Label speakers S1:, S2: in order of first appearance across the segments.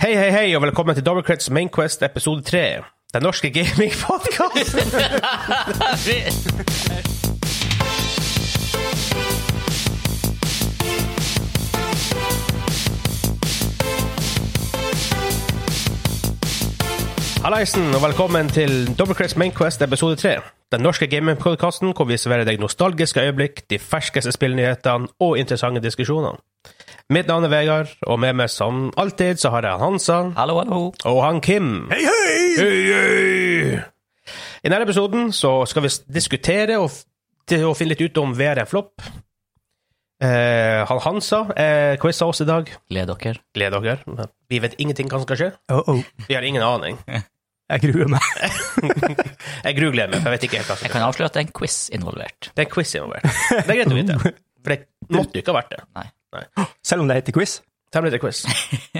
S1: Hei, hei, hei, og velkommen til Doublecrets Mainquest episode 3. Den norske gamingpodkasten. Hallaisen, og velkommen til Doublecrets Mainquest episode 3. Den norske gamingpodkasten hvor vi serverer deg nostalgiske øyeblikk, de ferskeste spillnyhetene og interessante diskusjonene. Mitt navn er Vegard, og med meg som alltid så har jeg Hansa.
S2: Hallo, hallo.
S1: Og han Kim. Hei, hei! I denne episoden så skal vi s- diskutere og, f- til å finne litt ut om VR er flopp. Eh, han Hansa eh, quiza oss i dag.
S2: Gled dere.
S1: Gled dere. Vi vet ingenting hva som skal skje.
S3: Oh, oh.
S1: Vi har ingen aning.
S3: Jeg gruer meg.
S1: Jeg grugleder meg, for jeg vet ikke helt hva som
S2: Jeg
S1: skjer.
S2: kan avsløre at det er en quiz involvert.
S1: Det er quiz involvert. Det er greit å vite. For det måtte jo ikke ha vært det.
S2: Nei.
S3: Selv om det heter quiz.
S1: Temmelig til quiz.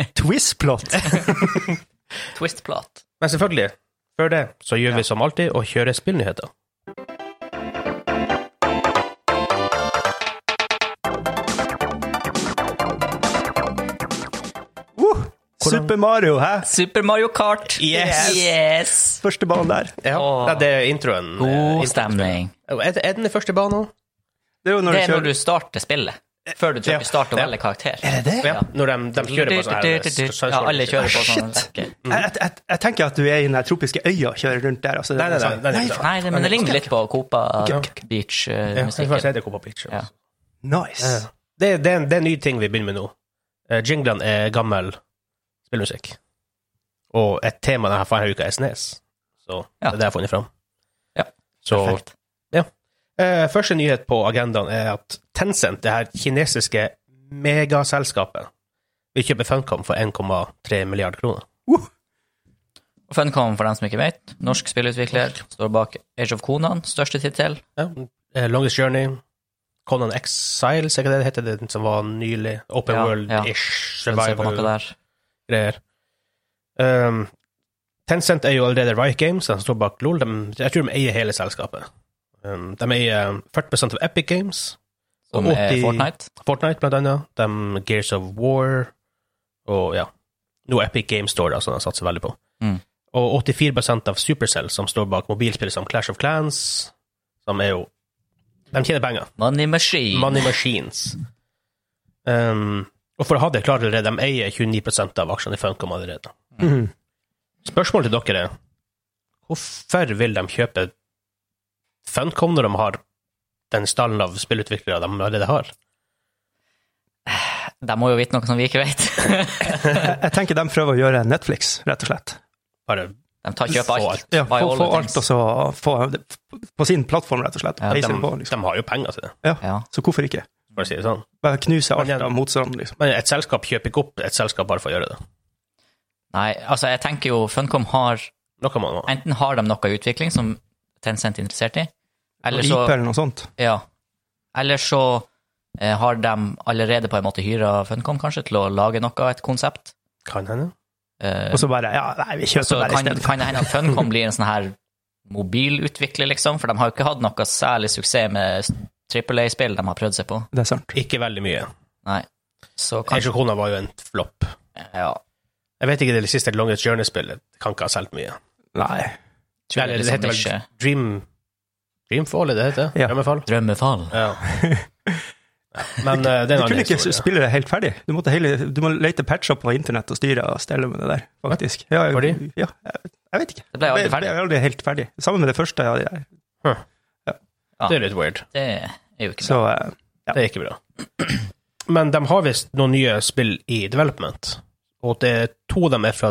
S3: Twizplot.
S2: Twistplat.
S1: Men selvfølgelig, før det så gjør vi som alltid og kjører spillnyheter.
S3: Uh, Super Mario, hæ?
S2: Super Mario Kart.
S1: Yes.
S2: yes.
S3: Første banen der.
S1: Ja,
S2: Åh.
S1: Nei, det er introen. eh,
S2: God
S1: intro-
S2: stemning.
S1: Er er den i første bane òg?
S3: Det er jo når
S2: Det
S3: du
S2: er når
S3: kjører
S2: du starter spillet. Før du
S1: Ja.
S2: trykker start og
S1: Ja.
S2: velger karakter.
S3: Er det det?
S1: Ja, når de, de kjører på sånn her
S2: Ja, alle kjører på sånn. rekke.
S3: Jeg, jeg, jeg, jeg tenker at du er i den der tropiske øya og kjører rundt der. Altså,
S1: Nei, nei, nei, nei, nei, nei.
S2: Nei, det, men det ligner litt på Copa eh,
S3: ok, ok.
S1: Ja, jeg får
S2: Beach-musikken.
S1: se det kommer på picture.
S2: Ja.
S3: Nice.
S1: Ja. Eh. Det, det, er en- det er en ny ting vi begynner med nå. Eh, Jinglene er gammel spillmusikk. Og et tema denne forrige uka er SNES. Så
S2: Ja.
S1: det er det jeg har funnet fram.
S2: Ja,
S1: Så, ja. Eh, første nyhet på agendaen er at Tencent, det her kinesiske megaselskapet, vil kjøpe Funcom for 1,3 milliard kroner.
S2: Funcom, for dem som ikke vet, norsk spillutvikler, står bak Age of Conan, største tittel.
S1: Ja. eh, Longest Journey, Conan Exiles, er ikke det det heter, den som var nylig? Open
S2: Ja, ja.
S1: World-ish,
S2: Se på noe
S1: survival-greier.
S2: der.
S1: Um, Tencent er jo allerede Riot Games, de som står bak LOL. De, jeg tror de eier hele selskapet. Um, de eier um, 40 av Epic Games,
S2: Som
S1: Og
S2: er
S1: 80
S2: Fortnite.
S1: Fortnite blant annet, de Gears of War, og ja, nå Epic Games Store, da, som de satser veldig på.
S2: Mm.
S1: Og 84 av Supercell, som står bak mobilspill som Clash of Clans, som er jo De tjener penger.
S2: Money Machine.
S1: Money Machines. Um, og for å ha det klart allerede, de eier 29 av aksjene i Funcom allerede.
S3: Mhm.
S1: Spørsmålet til dere er hvorfor vil de kjøpe Funcom når de har den stallen av spillutviklere de allerede har?
S2: De må jo vite noe som vi ikke vet.
S3: Jeg, jeg tenker de prøver å gjøre Netflix, rett og slett.
S1: Bare
S2: De tar kjøper
S1: Få
S2: alt.
S1: alt.
S3: Ja,
S2: Buy
S3: få,
S2: all
S3: få
S2: the
S3: alt
S2: things.
S3: altså. og så få det på sin plattform, rett og slett.
S2: Ja,
S3: Peise
S1: de,
S3: det på, liksom.
S1: de har jo penger til det,
S2: Ja.
S3: Så hvorfor ikke?
S1: for å si det sånn.
S3: Bare knuse
S1: Men
S3: alt
S1: igjen-
S3: av motstand, liksom.
S1: Men et selskap kjøper ikke opp et selskap bare for å gjøre det.
S2: Nei, altså jeg tenker jo Funcom har
S1: Noe må man ha.
S2: Enten har de noe i utvikling som Tencent er interessert i, eller så,
S3: Ripe eller noe sånt.
S2: ja, eller så eh, har de allerede på en måte hyra Funcom kanskje til å lage noe, et konsept.
S1: Kan hende.
S2: Eh,
S3: Og så bare Ja, nei, vi
S2: så
S3: kjøper bare i
S2: kan,
S3: stedet.
S2: kan det hende at Funcom blir en sånn her mobilutvikler, liksom, for de har jo ikke hatt noe særlig suksess med Triple A-spill de har prøvd seg på.
S3: Det er sant.
S1: Ikke veldig mye.
S2: Nei. Så kanskje
S1: Kanskje Kona var jo en flopp.
S2: Ja.
S1: Jeg vet ikke, det siste Longest Journey-spillet kan ikke ha solgt mye.
S3: Nei.
S2: Tror
S1: Eller
S2: det
S1: det,
S2: er liksom
S1: heter vel
S2: nisje.
S1: Dream Dreamfall, er det det heter?
S3: Ja.
S1: Drømmefall?
S2: Drømmefall.
S1: Ja. Men eh, det er en
S3: Du
S1: annen
S3: kunne ikke
S1: historie.
S3: spille det helt ferdig. Du, måtte hele, du må lete patcher på internett og styre og stelle med det der, faktisk. Ja, jeg,
S1: Fordi?
S3: Ja, jeg, jeg vet ikke.
S2: Det ble aldri
S3: Jeg
S2: ferdig.
S3: ble aldri helt ferdig. Sammen med det første. Ja, det der.
S1: Det er litt weird.
S2: Det er jo ikke bra.
S3: Så eh, Ja.
S1: Det er ikke bra. Men de har visst noen nye spill i development, og det er to av dem er fra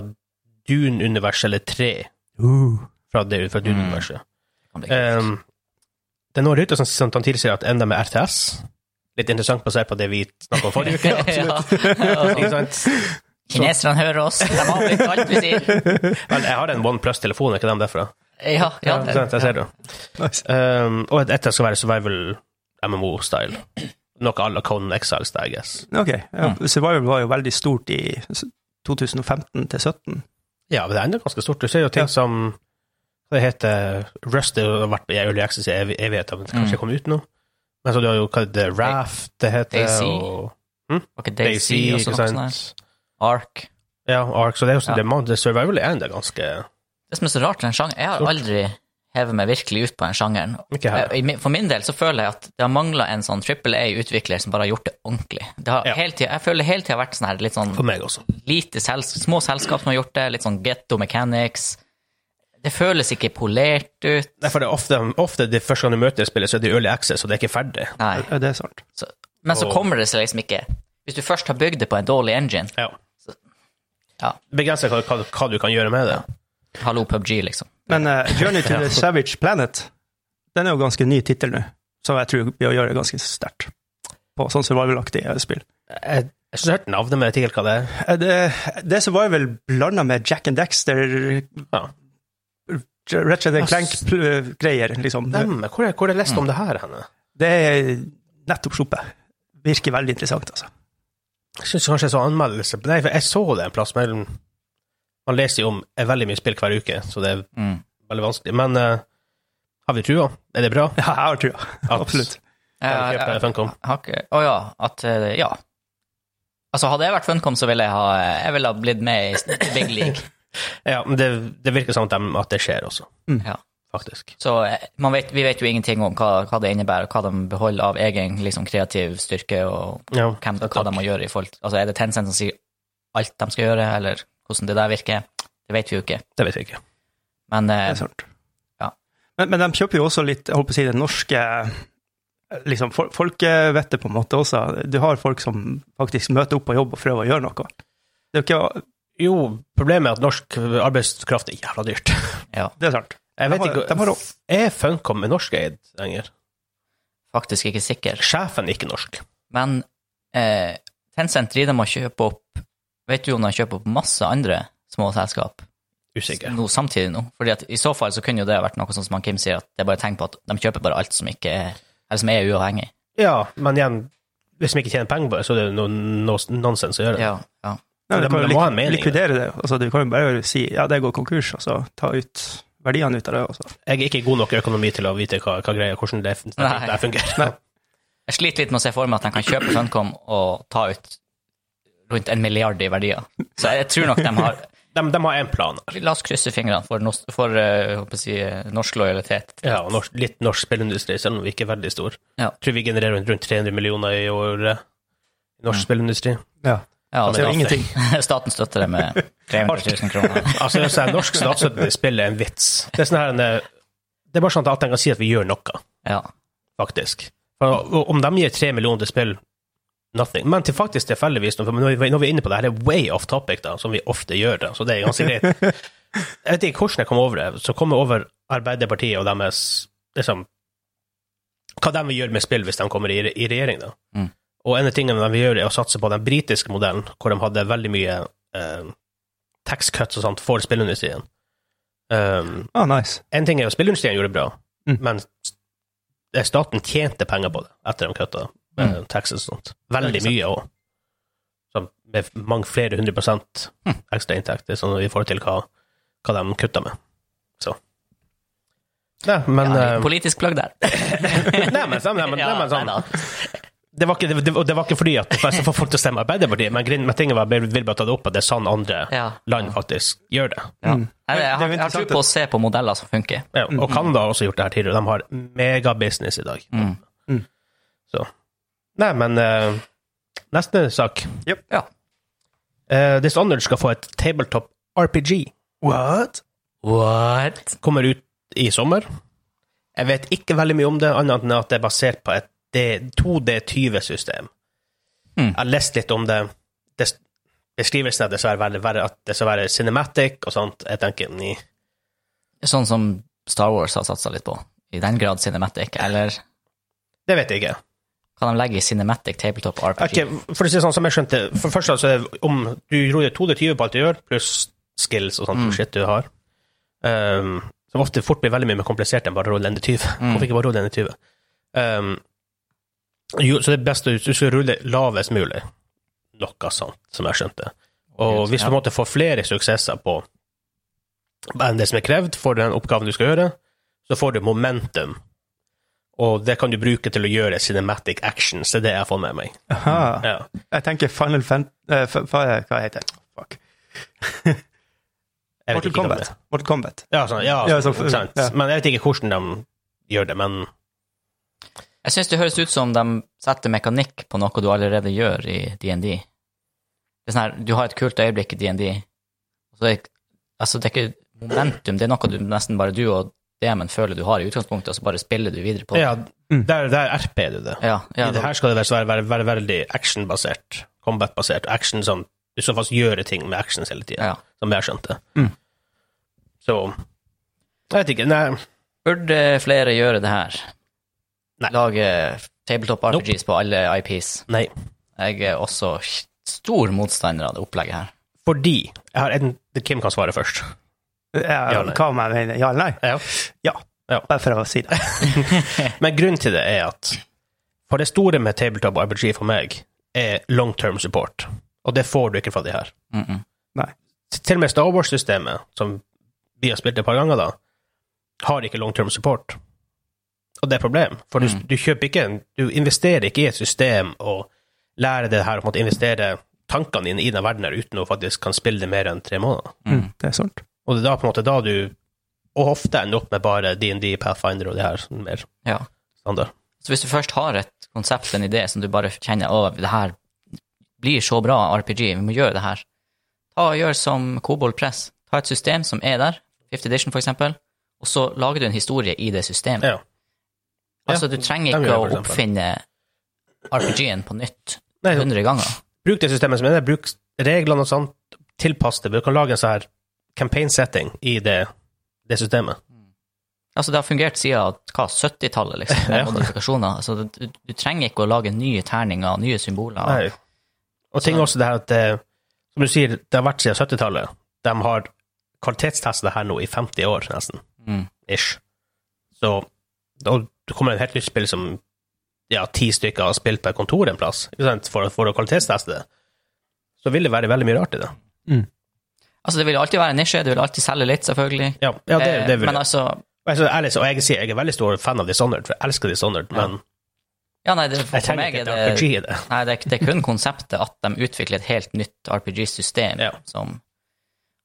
S1: Dune-universet, eller tre
S2: Uh.
S1: fra det fra Dune-universet.
S2: Kan bli kult.
S3: eh,
S1: Um, det er noen rykter som, som tilsier at en av dem er RTS. Litt interessant basert på det vi snakket om forrige uke. Ikke sant?
S2: Kineserne hører oss, de avbryter alt vi sier.
S1: Vel, jeg har en OnePlus-telefon, er ikke den derfra?
S2: Ja, ja,
S1: Ja, sant, jeg ser det.
S3: Nice.
S1: Um, og et etter skal være survival MMO-style. Noe à la Conan Exiles, I guess.
S3: Ok. Ja,
S2: Mm.
S3: Survival var jo veldig stort i 2015 til 17.
S1: Ja, men det er enda ganske stort. Du ser jo ting
S3: Ja.
S1: som Hva det heter Rust det har vært i Early Access i ev evigheter, men det kanskje
S2: Mm.
S1: kom ut nå. Men så du har jo hva det er, Raft, det heter
S2: Daisy.
S1: og
S2: Var ikke
S1: Daisy,
S2: Daisy også
S1: ikke
S2: noe sånt her?
S1: sant.
S2: Ark.
S1: Ja, Ark, så det er jo sånn, det
S2: Ja.
S1: er mange- det survival er det ganske
S2: Det som er så rart med en sjanger Jeg har aldri hevet meg virkelig ut på den sjangeren.
S1: Ikke her.
S2: Eh, i min- For min del så føler jeg at det har mangla en sånn trippel A-utvikler som bare har gjort det ordentlig. Det har
S1: Ja.
S2: hele tiden, jeg føler det hele tida har vært sånn her litt sånn
S1: For meg også.
S2: lite sel små selskap som har gjort det, litt sånn Getto Mechanics. Det føles ikke polert ut.
S1: Derfor er det ofte, ofte de første gang du møter spillet, så er det early access, og det er ikke ferdig.
S2: Nei.
S3: Ja, det er sant.
S2: Så, men så
S1: Og-
S2: kommer det seg liksom ikke Hvis du først har bygd det på en dårlig engine
S1: Ja.
S2: Ja.
S1: Begrenser hva, hva, hva du kan gjøre med det.
S2: Hallo, PubG, liksom.
S3: Men eh, Journey to the Savage Planet, den er jo ganske ny tittel nå, som jeg tror vi gjør det ganske sterkt på sånn survival-aktig eh, spill.
S1: Jeg, jeg synes jeg hørte navnet, men jeg vet ikke helt hva det er.
S3: Eh, Det, det er survival blanda med Jack and Dexter,
S1: Ja.
S3: Ratchet and
S1: Ja, s-
S3: Clank-greier, liksom.
S1: Dem, hvor har jeg lest om det her henne?
S3: Det er nettopp sluppet. Virker veldig interessant, altså.
S1: Jeg syns kanskje jeg så anmeldelse Nei, for jeg så det en plass, men man leser jo om er veldig mye spill hver uke, så det er
S2: Mm.
S1: veldig vanskelig. Men eh, har vi trua? Er det bra?
S3: Ja, jeg har trua.
S1: At-
S3: Absolutt.
S1: Har vi kjøpt det,
S2: Jeg-
S1: Funcom?
S2: jeg har ikke Å ja. At eh, Ja. Altså, hadde jeg vært Funcom, så ville jeg ha Jeg ville ha blitt med i Big League.
S1: Ja, men det, det virker som at, dem- at det skjer også,
S3: Mm.
S2: Ja.
S1: faktisk.
S2: Så eh, man vet, vi vet jo ingenting om hva, hva det innebærer, og hva de beholder av egen liksom, kreativ styrke, og
S1: Ja,
S2: hvem,
S1: takk.
S2: hva de må gjøre i forhold til Altså, er det Tencent som sier alt de skal gjøre, eller hvordan det der virker? Det vet vi jo ikke.
S1: Det vet vi ikke.
S2: Men
S3: Det
S2: eh,
S3: er sant.
S2: Ja.
S3: Men, men de kjøper jo også litt, jeg holdt på å si, det norske liksom, fol- folkevettet på en måte også. Du har folk som faktisk møter opp på jobb og prøver å gjøre noe. Det er, jo ikke,
S1: Jo, problemet er at norsk arbeidskraft er jævla dyrt.
S2: ja,
S3: det er sant.
S1: Jeg vet
S3: De har-
S1: ikke,
S3: de har råd.
S1: Er Funcom norskeid lenger?
S2: faktisk ikke sikker.
S1: Sjefen er ikke norsk.
S2: Men eh, Tencent driver med å kjøpe opp Vet du om de kjøper opp masse andre små selskap?
S1: Usikker.
S3: Mm.
S2: nå, samtidig nå. Fordi at I så fall så kunne jo det ha vært noe sånn som han Kim sier, at det er bare tegn på at de kjøper bare alt som ikke er, eller som er uavhengig.
S1: Ja, men igjen, hvis de ikke tjener penger på det, så er det noe no, nonsens å gjøre det.
S2: Ja, ja.
S3: Nei,
S1: Så
S3: du
S1: de-
S3: kan jo
S1: de må ha
S3: lik-
S1: en mening i det.
S3: likvidere det. Altså, du kan jo bare si ja, det går konkurs, og så ta ut verdiene ut av det. Også.
S1: Jeg er ikke god nok i økonomi til å vite hva, hva greia, hvordan det, det,
S2: Nei.
S1: det fungerer.
S2: Jeg sliter litt med å se for meg at de kan kjøpe Funcom og ta ut rundt en milliard i verdier. Så jeg tror nok de har
S1: De, de har én plan altså. her.
S2: La oss krysse fingrene for, nos- for eh, håper jeg å si, eh, norsk lojalitet.
S1: Ja, og norsk, litt norsk spillindustri, selv om vi ikke er veldig stor.
S2: Ja.
S1: Tror vi genererer rundt- rundt 300 millioner i året i norsk spillindustri.
S2: Ja,
S1: Altså, Det er jo
S2: staten- Staten støtter det med 300 000 kroner.
S1: Altså, så er norsk statsstøtte til spill er en vits. Det er, sånn her, en, eh, det er bare sånn at de kan si at vi gjør noe,
S2: Ja.
S1: faktisk. For og om de gir tre millioner til spill, nothing. Men til faktisk tilfeldigvis, nå- for når vi, når vi er inne på det her, det er way off topic, da, som vi ofte gjør det, så det er ganske greit. Jeg vet ikke hvordan jeg kom over det, så kom jeg over Arbeiderpartiet og deres liksom, Hva de vil gjøre med spill hvis de kommer i, re- i regjering, da.
S2: Mm.
S1: Og en av tingene de vil gjøre, er å satse på den britiske modellen, hvor de hadde veldig mye eh, tax cuts og sånt for spillindustrien. Um,
S3: Ah, nice.
S1: en ting er jo spillindustrien gjorde det bra,
S3: Mm.
S1: men s- staten tjente penger på det etter de kutta med taxes og sånt. Veldig
S3: Ikke sant.
S1: mye òg. Med mange flere hundre prosent ekstra inntekter sånn i forhold til hva, hva de kutta med. Så. Nei, men,
S2: ja
S1: eh,
S2: politisk plagg der.
S1: nei, men, sånn- nei, men, nei,
S2: Ja,
S1: men sånn.
S2: neida.
S1: Det var, ikke, det, var- det var ikke fordi at for jeg får folk til å stemme Arbeiderpartiet, men, grinn- men tingen var jeg vil bare ta det opp at det er sånn andre
S2: Ja.
S1: land faktisk gjør det.
S2: Ja.
S3: Mm.
S2: Nei,
S3: Det er
S2: Jeg,
S3: jo
S2: har, jeg har tro
S3: interessant
S2: på å se på modeller som funker.
S1: Ja, og Canada har også gjort det her tidligere. De har megabusiness i dag.
S2: Mm.
S3: Mm.
S1: Så. Nei, men eh, neste sak.
S2: Ja.
S1: Uh, Dishonored skal få et tabletop RPG.
S3: What?
S2: What?
S1: Kommer ut i sommer. Jeg vet ikke veldig mye om det, annet enn at det er basert på et D- 2D20-system.
S2: Mm.
S1: Jeg har lest litt om det. det beskrivelsen er dessverre veldig verre at det skal være cinematic og sånt. Jeg tenker, ni.
S2: Sånn som Star Wars har satsa litt på. I den grad cinematic, eller
S1: Det vet jeg ikke.
S2: kan de legge i cinematic tabletop RPG?
S1: Ok, for å si det sånn som jeg skjønte For først altså, om du roer 2D20 på alt du gjør, pluss skills og sånt
S2: Mm.
S1: shit du har, um, som ofte fort blir veldig mye mer komplisert enn bare å rulle ND20. Hvorfor ikke bare rulle ND20? Um, jo, så det er best at du skal rulle lavest mulig. Noe sånt, som jeg skjønte. Og hvis du på en måte får flere suksesser på enn det som er krevd for den oppgaven du skal gjøre, så får du momentum. Og det kan du bruke til å gjøre cinematic actions. Det er det jeg har fått med meg.
S3: Aha.
S1: Ja.
S3: Jeg tenker Final Fan... eh, fa- fa- hva heter det? Fuck.
S1: Jeg vet
S3: Mortal
S1: ikke om
S3: Kombat.
S1: det-
S3: Mortal Kombat.
S1: Ja, sånn, ja,
S3: Ja,
S1: sånn,
S3: sånn,
S1: sant.
S3: ja.
S1: Men jeg vet ikke hvordan de gjør det, men
S2: Jeg syns det høres ut som de setter mekanikk på noe du allerede gjør i DND. Det er sånn her, du har et kult øyeblikk i DND. Så det, er- altså, det er ikke momentum, det er noe du, nesten bare du og demon føler du har i utgangspunktet, og så bare spiller du videre på det.
S1: ja, der, der RP du det.
S2: Ja, ja,
S1: I det her skal det være, være, være veldig actionbasert, combat-basert. Action som du så fast gjør ting med actions hele tida,
S2: ja.
S1: som jeg skjønte.
S3: Mm.
S1: Så Jeg vet ikke. Nei,
S2: Burde flere gjøre det her?
S1: Nei.
S2: Lage tabletop RPGs på alle IPs.
S1: nei.
S2: Jeg er også stor motstander av det opplegget her.
S1: Fordi jeg har en, Kim kan svare først.
S3: Ja,
S1: Ja, nei.
S3: hva om jeg mener? Ja eller nei?
S1: Ja.
S3: Ja.
S1: Ja.
S3: Bare for å si det.
S1: Men grunnen til det er at For det store med tabletop RPG for meg er long term support, og det får du ikke fra de her.
S2: Mm -mm.
S1: Til og med Star Wars-systemet, som vi har spilt et par ganger, da, har ikke long term support. Og det er et problem, for du,
S2: Mm.
S1: du kjøper ikke en- Du investerer ikke i et system og lærer det her om å investere tankene dine i den verden her uten å faktisk kan spille det mer enn tre måneder.
S2: Mm.
S3: Mm, Det er sant.
S1: Og det er da på en måte da du og ofte ender opp med bare DND, Pathfinder og det her, sånn mer
S2: Ja.
S1: standard.
S2: Så hvis du først har et konsept, en idé, som du bare kjenner å, det her blir så bra RPG, vi må gjøre det her, ta og gjør som Kobold Press. Ta et system som er der, 50 Edition for eksempel, og så lager du en historie i det systemet.
S1: Ja.
S2: Altså,
S1: Ja,
S2: du trenger
S1: de
S2: ikke
S1: gjør
S2: å
S1: det, for
S2: oppfinne RPG-en på nytt
S1: Nei,
S2: 100 ganger.
S1: bruk det systemet som er der, bruk reglene og sånt, tilpass det. Du kan lage en sånn her campaign setting i det, det systemet.
S2: Altså, det har fungert siden hva, 70-tallet, liksom, med
S1: Ja.
S2: modifikasjoner. Altså, du, du trenger ikke å lage nye terninger, nye symboler.
S1: Nei. Og ting
S2: Så-
S1: også det her at det, som du sier, det har vært siden 70-tallet. De har kvalitetstestet det her nå i 50 år, nesten.
S2: Mm.
S1: Ish. Så da det kommer et helt nytt spill som ja, ti stykker har spilt per kontor en plass, ikke sant, for, å- for å kvalitetsteste det. Så vil det være veldig mye rart i det.
S2: Altså, det vil alltid være en nisje, det vil alltid selge litt, selvfølgelig.
S1: Ja, ja det, det
S2: Eh,
S1: vil
S2: Men
S1: jeg.
S2: altså,
S1: Altså, ærlig, så- og jeg, sier, jeg er veldig stor fan av Dishonored, for jeg elsker Dishonored, men
S2: ja, nei, det, for,
S1: jeg
S2: for
S1: trenger
S2: meg
S1: ikke
S2: er
S1: et
S2: det,
S1: RPG i det.
S2: nei, det, er- det er kun konseptet at de utvikler et helt nytt RPG-system
S1: Ja.
S2: som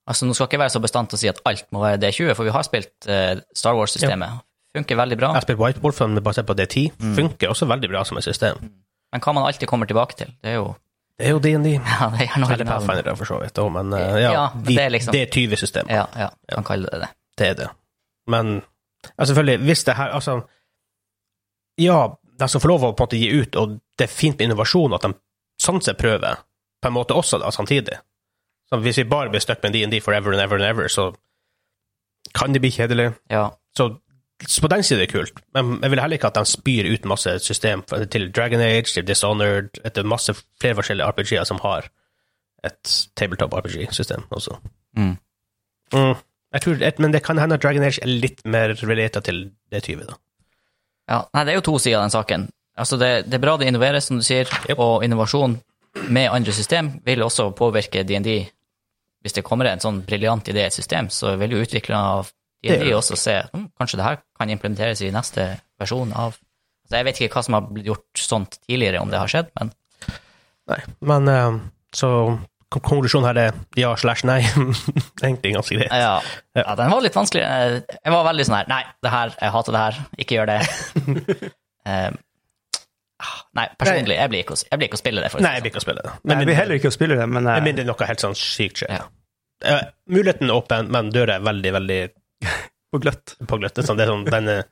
S2: Altså, nå skal jeg ikke være så bestandt å si at alt må være D20, for vi har spilt eh, Star Wars-systemet. Funker veldig bra,
S1: Jeg har spilt White Wolf men basert på D10.
S2: Mm.
S1: Funker også veldig bra som et system.
S2: men hva man alltid kommer tilbake til, det er jo
S1: Det er jo DND.
S2: Ja, det er gjerne
S1: Eller
S2: originalen.
S1: Pathfinder, for så vidt. også, men eh, ja,
S2: Ja, men
S1: de-
S2: det er liksom-
S1: D20-system.
S2: Ja, ja, kan kalle det det.
S1: Det er det. Men ja, selvfølgelig, hvis det her Altså, ja, de som får lov å på en måte gi ut, og det er fint med innovasjon, at de sånn sett prøver, på en måte også da, samtidig. Så hvis vi bare blir stuck med DND forever and ever and ever, så kan det bli kjedelig.
S2: Ja.
S1: Så så på den siden er det kult, men jeg vil heller ikke at de spyr ut masse system for- til Dragon Age, til Dishonored, etter masse flere forskjellige RPG-er som har et tabletop-RPG-system også.
S2: Mm.
S1: Mm. Jeg tror, et, men det kan hende at Dragon Age er litt mer relatet til det 20, da.
S2: Ja, nei, det er jo to sider av den saken. Altså, det, det er bra det innoveres, som du sier, og innovasjon med andre system vil også påvirke DND. Hvis det kommer en sånn briljant idé i et system, så vil jo utviklerne av
S1: Det gjør
S2: DND
S1: det.
S2: også se hm, kanskje det her kan implementeres i neste versjon av altså, Jeg vet ikke hva som har blitt gjort sånt tidligere, om det har skjedd, men
S1: Nei. Men eh, så kon- konklusjonen her er ja slash nei. Egentlig ganske greit.
S2: ja, ja, den var litt vanskelig. Eh, Jeg var veldig sånn her Nei, det her, jeg hater det her. Ikke gjør det. Eh, ah, nei, personlig, jeg blir ikke å, jeg blir ikke å spille det, for å si
S1: Nei,
S2: det
S1: jeg blir ikke å spille det.
S3: Nei, jeg vil heller ikke å spille det, men eh,
S1: Med mindre noe helt sånn sykt skjer.
S2: Ja.
S1: Eh, muligheten er åpen, men døra er veldig, veldig
S3: på gløtt.
S1: på gløtt. Det er sånn, det er sånn, den er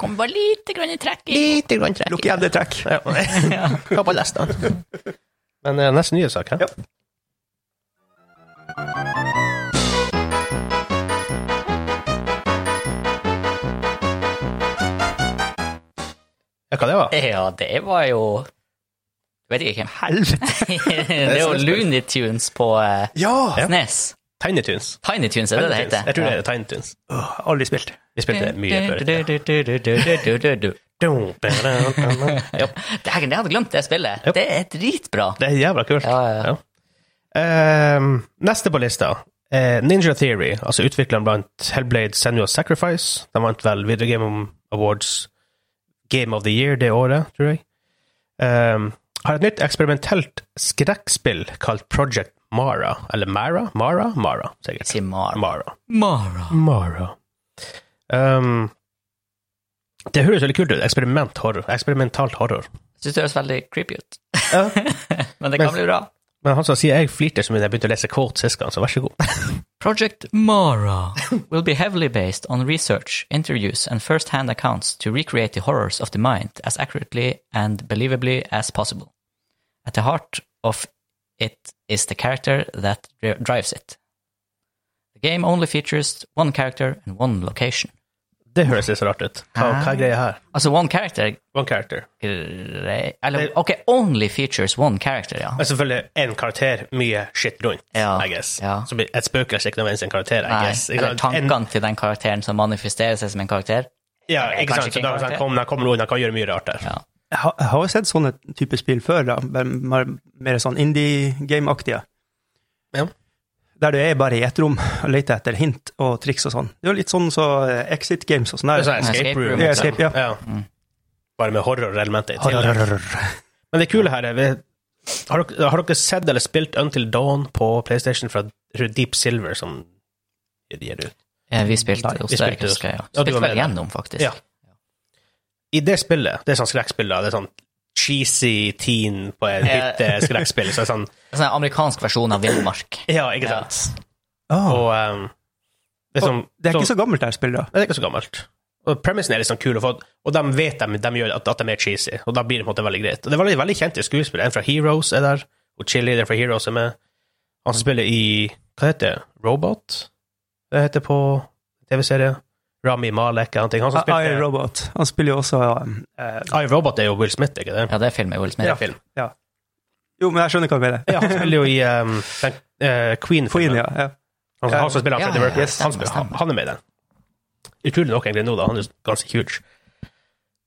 S2: Kom bare lite grann i trekk.
S1: Lite grann
S3: Lukk igjen det trekk.
S1: Ja. Hva på lesta? Men eh, neste nye sak, hæ?
S3: Ja.
S1: Ja, hva det var?
S2: Ja, det var jo Jeg vet ikke.
S3: Helvete!
S2: det er jo Looney Tunes på eh,
S3: Ja!
S2: SNES.
S1: Tiny Tunes.
S2: Tiny Tunes, er det det
S1: Tiny Tunes.
S2: heter?
S1: Jeg tror det er Tiny Tunes.
S3: Åh, aldri spilt.
S1: Vi spilte det mye før.
S2: før.
S1: Ja,
S2: Dægen, jeg hadde glemt det spillet.
S1: Yep.
S2: Det er dritbra.
S1: det er jævla kult.
S2: Ja, ja, ja.
S1: Ehm, neste på lista er Ninja Theory, altså utvikleren blant Hellblade Senua Sacrifice. De vant vel Video Game Awards Game of the Year det året, tror jeg. Ehm, har et nytt eksperimentelt skrekkspill kalt Project Mara, eller Mara? Mara? Mara, sikkert.
S2: Si Mara.
S1: Mara.
S2: Mara.
S1: Mara. Um, det høres veldig kult ut. Eksperiment horror. Eksperimentalt horror.
S2: Jeg syns det høres veldig creepy ut.
S1: Ja.
S2: Men det kan
S1: Men-
S2: bli bra.
S1: Men han som sier jeg flirte så mye da jeg begynte å lese quotes sist gang, så vær så god.
S2: Project Mara will be heavily based on research, interviews, and first hand accounts to recreate the horrors of the mind as accurately and believably as possible. At the heart of it is the character that dri- drives it. The game only features one character and one location.
S1: Det høres litt så rart ut. Hva, hva er greia her?
S2: Altså, one character
S1: One character.
S2: grei- Eller, OK, only features one character, ja.
S1: Men selvfølgelig én karakter, mye shit rundt,
S2: Ja,
S1: I guess.
S2: ja.
S1: Så blir et spøkelse ikke nødvendigvis en karakter, I
S2: Nei,
S1: guess. Ikke sant?
S2: eller
S1: En-
S2: tankene til den karakteren som manifesterer seg som en karakter.
S1: Ja, ikke
S2: kanskje
S1: sant.
S2: ikke
S1: Så
S2: en
S1: da,
S2: karakter.
S1: han kommer, han kommer noen, han kan gjøre mye rart der.
S2: Ja.
S3: Jeg har- jeg har jo sett sånne type spill før, da. bare Mer, mer sånn indie-game-aktige.
S1: Ja.
S3: Der du er bare i ett rom og leter etter hint og triks og sånn. Det er jo litt sånn så eh, Exit Games og sånn
S1: Det er
S3: der.
S1: sånn escape
S2: Escape room,
S1: room.
S3: Ja, escape, ja.
S1: Ja. Bare med horror-elementet i tillegg.
S3: Horror.
S1: Men det kule her er vi, har, dere, har dere sett eller spilt Until Dawn på PlayStation fra jeg tror Deep Silver, som de gir ut?
S2: Ja, Eh, vi spilte
S1: Nei,
S2: hos
S1: vi
S2: deg,
S1: spilte hos-
S2: husker jeg. Ja.
S1: Ja, du
S2: Spilte
S1: var
S2: vel
S1: med
S2: gjennom, faktisk.
S1: Ja. I det spillet, det er sånn skrekkspill, da. Det er sånn cheesy teen på en
S2: Ja.
S1: hytte skrekkspill. Så det er sånn
S2: En sånn amerikansk versjon av Villmark.
S1: Ja, ikke sant?
S3: Ah,
S1: Og um, det er sånn
S3: det er ikke så gammelt, det her spillet. da.
S1: Nei, det er ikke så gammelt. Og premissen er litt sånn kul, å få, og de vet de, de gjør at, at de er cheesy, og da blir det på en måte veldig greit. Og det er veldig, veldig kjente skuespillere. En fra Heroes er der, og cheerleader fra Heroes er med. Han som spiller i Hva heter det? Robot? Det heter på TV-serie. Rami Malek eller noe. Han som
S3: I, I
S1: spilte
S3: Robot. Han spiller jo også um, eh,
S1: I, Robot er jo Will Smith, ikke det?
S2: Ja, det er film med Will Smith.
S1: Det er film.
S3: Jo, men jeg skjønner hva du mener.
S1: Ja, han spiller jo i um, den, eh, Queen.
S3: Queen, ja. ja.
S1: Han, han som spiller
S2: Ja,
S1: Freddie
S2: ja,
S1: Mercury,
S2: yes.
S1: han, spiller, han, han er med i den. Utrolig nok egentlig nå, da. Han er ganske huge.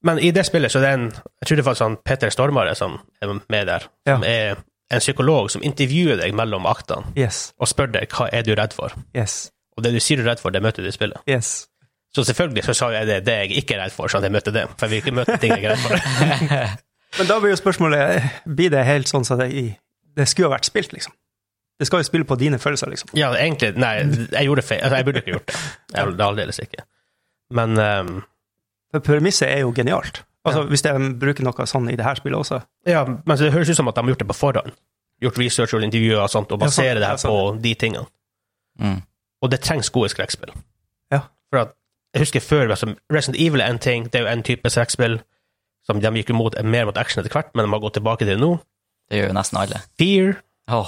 S1: Men i det spillet så er det en Jeg tror det er faktisk han Peter Stormare som er med der.
S3: Ja.
S1: Som er en psykolog som intervjuer deg mellom aktene
S3: Yes,
S1: og spør deg hva er du redd for.
S3: yes,
S1: Og det du sier du er redd for, det møter du i spillet.
S3: yes.
S1: Så selvfølgelig så sa jeg det, det jeg ikke er redd for, sånn at jeg møter det. For jeg vil ikke møte ting jeg er redd for.
S3: Men da blir jo spørsmålet, blir det helt sånn som det, i- det skulle ha vært spilt, liksom? Det skal jo spille på dine følelser, liksom.
S1: Ja, egentlig Nei, jeg gjorde feil. Altså, jeg burde ikke gjort det. Jeg, det er aldeles ikke. Men ehm,
S3: For premisset er jo genialt. Altså, Hvis de bruker noe sånn i det her spillet også.
S1: Ja, men det høres ut som at de har gjort det på forhånd. Gjort research og intervjuer og sånt, og
S3: Ja, sant,
S1: baserer det
S3: ja,
S1: her
S3: sant.
S1: på de tingene.
S2: Mm.
S1: Og det trengs gode skrekkspill.
S3: Ja.
S1: For at, jeg husker før, altså, Resident Evil er en ting, det er jo en type skrekkspill som de gikk jo mot, mer mot action etter hvert, men de har gått tilbake til det nå.
S2: Det gjør jo nesten alle.
S1: Fear,
S2: Å,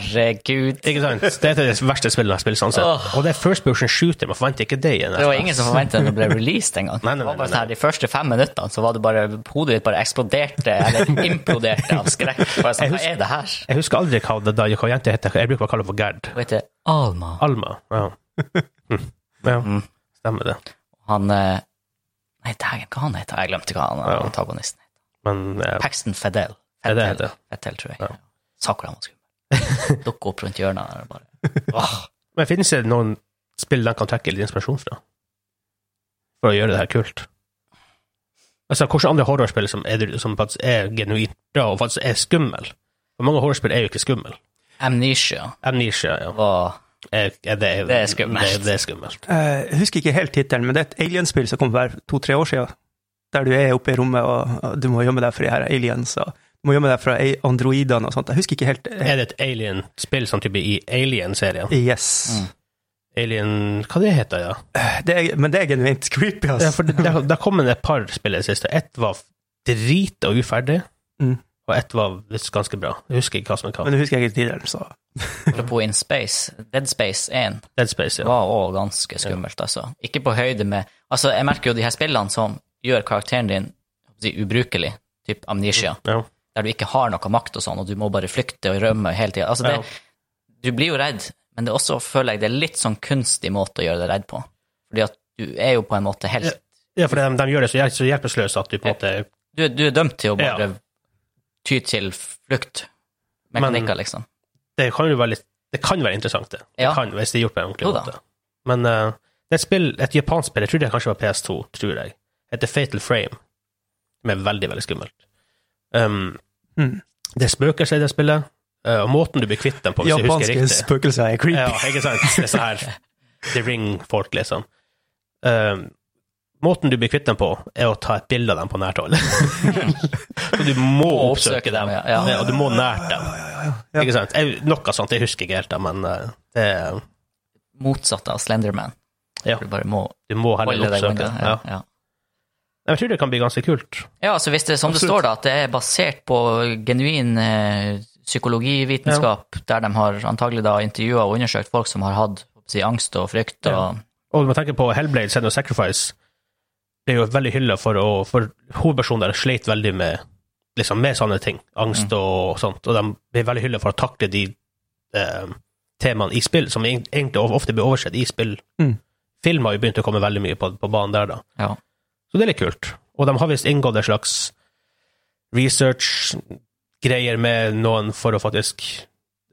S2: herregud.
S1: ikke sant? Det er det verste spillet jeg har spilt, sånn sett.
S2: Åh.
S1: Og det er first person shooter, man forventer ikke det. i en
S2: Det var
S1: FPS.
S2: ingen som forventet at det ble released engang.
S1: Nei, nei, nei,
S2: Det var bare
S1: nei,
S2: sånn her, De første fem minuttene så var det bare hodet ditt bare eksploderte, eller imploderte av skrekk. Bare sånn, hva er det her?
S1: Jeg husker aldri hva det da, hva jenta heter, jeg bruker bare å kalle henne for Gerd.
S2: Hun heter Alma.
S1: Alma, ja. Hm. Ja,
S2: Mm.
S1: stemmer det.
S2: Han eh, Nei, dægen, hva han heter? Jeg glemte hva han
S1: Ja.
S2: antagonisten heter.
S1: Men eh,
S2: Paxton Fedel.
S1: Er det
S2: Fettel,
S1: det?
S2: Fettel, tror jeg.
S1: Ja.
S2: Sa hvor han var skummel. Dukket opp rundt hjørnet der og bare Åh.
S1: Men finnes det noen spill de kan trekke litt inspirasjon fra? For å gjøre det her kult? Altså, Hvilke andre horrorspill som, er, som faktisk er genuint bra, og faktisk er skummel? For Mange horrorspill er jo ikke skummel.
S2: Amnesia
S1: Amnesia, ja.
S2: var
S1: Er, er det,
S2: Det er skummelt.
S1: Det, det er skummelt.
S3: Eh, Jeg husker ikke helt tittelen, men det er et alienspill som kom for to-tre år siden. Der du er oppe i rommet, og og du må gjemme deg for de her aliens, og du må gjemme deg for ei- androidene og sånt. Jeg husker ikke helt eh,
S1: Er det et alien-spill som type i Alien-serien?
S3: Yes.
S2: Mm.
S1: Alien Hva det heter det, ja?
S3: Det er, men det er genuint creepy,
S1: ja
S3: altså.
S1: for det, der, der kom det et par spill i det siste. Ett var drit og uferdig,
S3: Mm.
S1: og ett var visst ganske bra. Jeg husker ikke hva som er hva.
S3: Men jeg husker ikke tittelen, så
S2: Apropos In Space, Dead Space 1
S1: Dead Space, ja.
S2: var òg ganske skummelt, altså. Ikke på høyde med Altså, jeg merker jo de her spillene som gjør karakteren din si, ubrukelig, typ Amnesia,
S1: ja.
S2: der du ikke har noe makt og sånn, og du må bare flykte og rømme hele tida. Altså, det, du blir jo redd, men det er også, føler jeg, det er litt sånn kunstig måte å gjøre deg redd på. Fordi at du er jo på en måte helt
S1: Ja, for de, de gjør det så, hjel så hjelpeløse at du på en måte
S2: Du, er- du er dømt til å
S1: Ja.
S2: bare ty til flukt.
S1: Men-
S2: Mekanikker, liksom.
S1: Det kan jo være litt Det kan være interessant, det. det
S2: Ja.
S1: kan, hvis det er gjort på en ordentlig
S2: Jo da.
S1: måte. Men eh, det er et spill, et japansk spill, jeg tror det kanskje var PS2, tror jeg, heter Fatal Frame. Som er veldig, veldig skummelt. Um,
S3: Mm.
S1: Det er spøkelser i det spillet. Eh, og måten du blir kvitt dem på, hvis jeg husker
S3: Japanske
S1: riktig.
S3: spøkelser er creepy.
S1: Ja, ikke sant? Det er sånn her The Ring-folk, liksom. Ehm, måten du blir kvitt dem på, er å ta et bilde av dem på nært hold. så du må oppsøke dem,
S2: ja, ja.
S1: og du må nært dem.
S3: ja.
S1: Ikke sant? Jeg, noe sånt, jeg husker ikke helt, da, men eh, det,
S2: Motsatt av Slenderman.
S1: Ja.
S2: Du bare må
S1: du må
S2: holde
S1: heller
S2: deg
S1: oppsøke
S2: unna.
S1: dem.
S2: Ja,
S1: Ja.
S2: ja.
S1: Jeg tror det kan bli ganske kult.
S2: ja, så hvis det som det
S3: Absolutt.
S2: står, da, at det er basert på genuin eh, psykologivitenskap, der de har antagelig da intervjua og undersøkt folk som har hatt hva skal jeg si, angst og frykt og
S1: Ja. Og når man tenker på Hellblade, Send og Sacrifice, det er jo veldig hylla for å For hovedpersonen der sleit veldig med liksom med sånne ting, angst og sånt, og de blir veldig hylla for å takle de eh, temaene i spill, som egent- egentlig ofte blir oversett i spill.
S3: Mm.
S1: Film har jo begynt å komme veldig mye på, på banen der, da.
S2: Ja.
S1: Så det er litt kult. Og de har visst inngått en slags research-greier med noen for å faktisk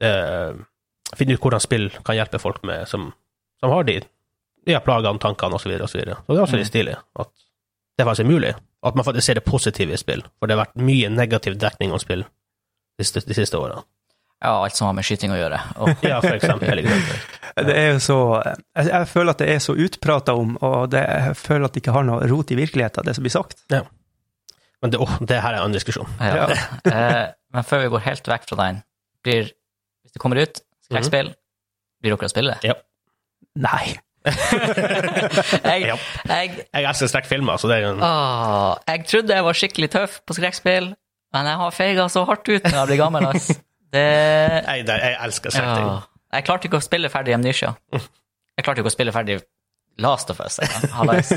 S1: eh, finne ut hvordan spill kan hjelpe folk med, som, som har de, de her plagene, tankene osv. Så, videre, og så, videre. så det er også litt stilig at det faktisk er mulig. At man faktisk ser det positive i spill. For det har vært mye negativ dekning om spill de, siste- de siste årene.
S2: ja, alt som har med skyting å gjøre. Og,
S1: Ja, for eksempel. ikke sant?
S3: Det er jo så eh, Jeg, jeg føler at det er så utprata om, og det, jeg føler at det ikke har noe rot i virkeligheten, det som blir sagt.
S1: Men det, åh, det her er en annen diskusjon.
S2: ja. Eh, men før vi går helt vekk fra den, blir, hvis det kommer ut skrekkspill,
S1: Mhm.
S2: blir dere å spille det?
S3: Nei.
S2: Jeg,
S1: Ja.
S2: jeg,
S1: Jeg elsker skrekkfilmer, så det er jo en
S2: åh, jeg trodde jeg var skikkelig tøff på skrekkspill, men jeg har feiga så hardt ut når jeg blir gammel, ass. Det
S1: Jeg, jeg elsker skrekkting.
S2: ja. Jeg klarte ikke å spille ferdig Amnesia. Jeg klarte ikke å spille ferdig Last of Us. engang. Hallais.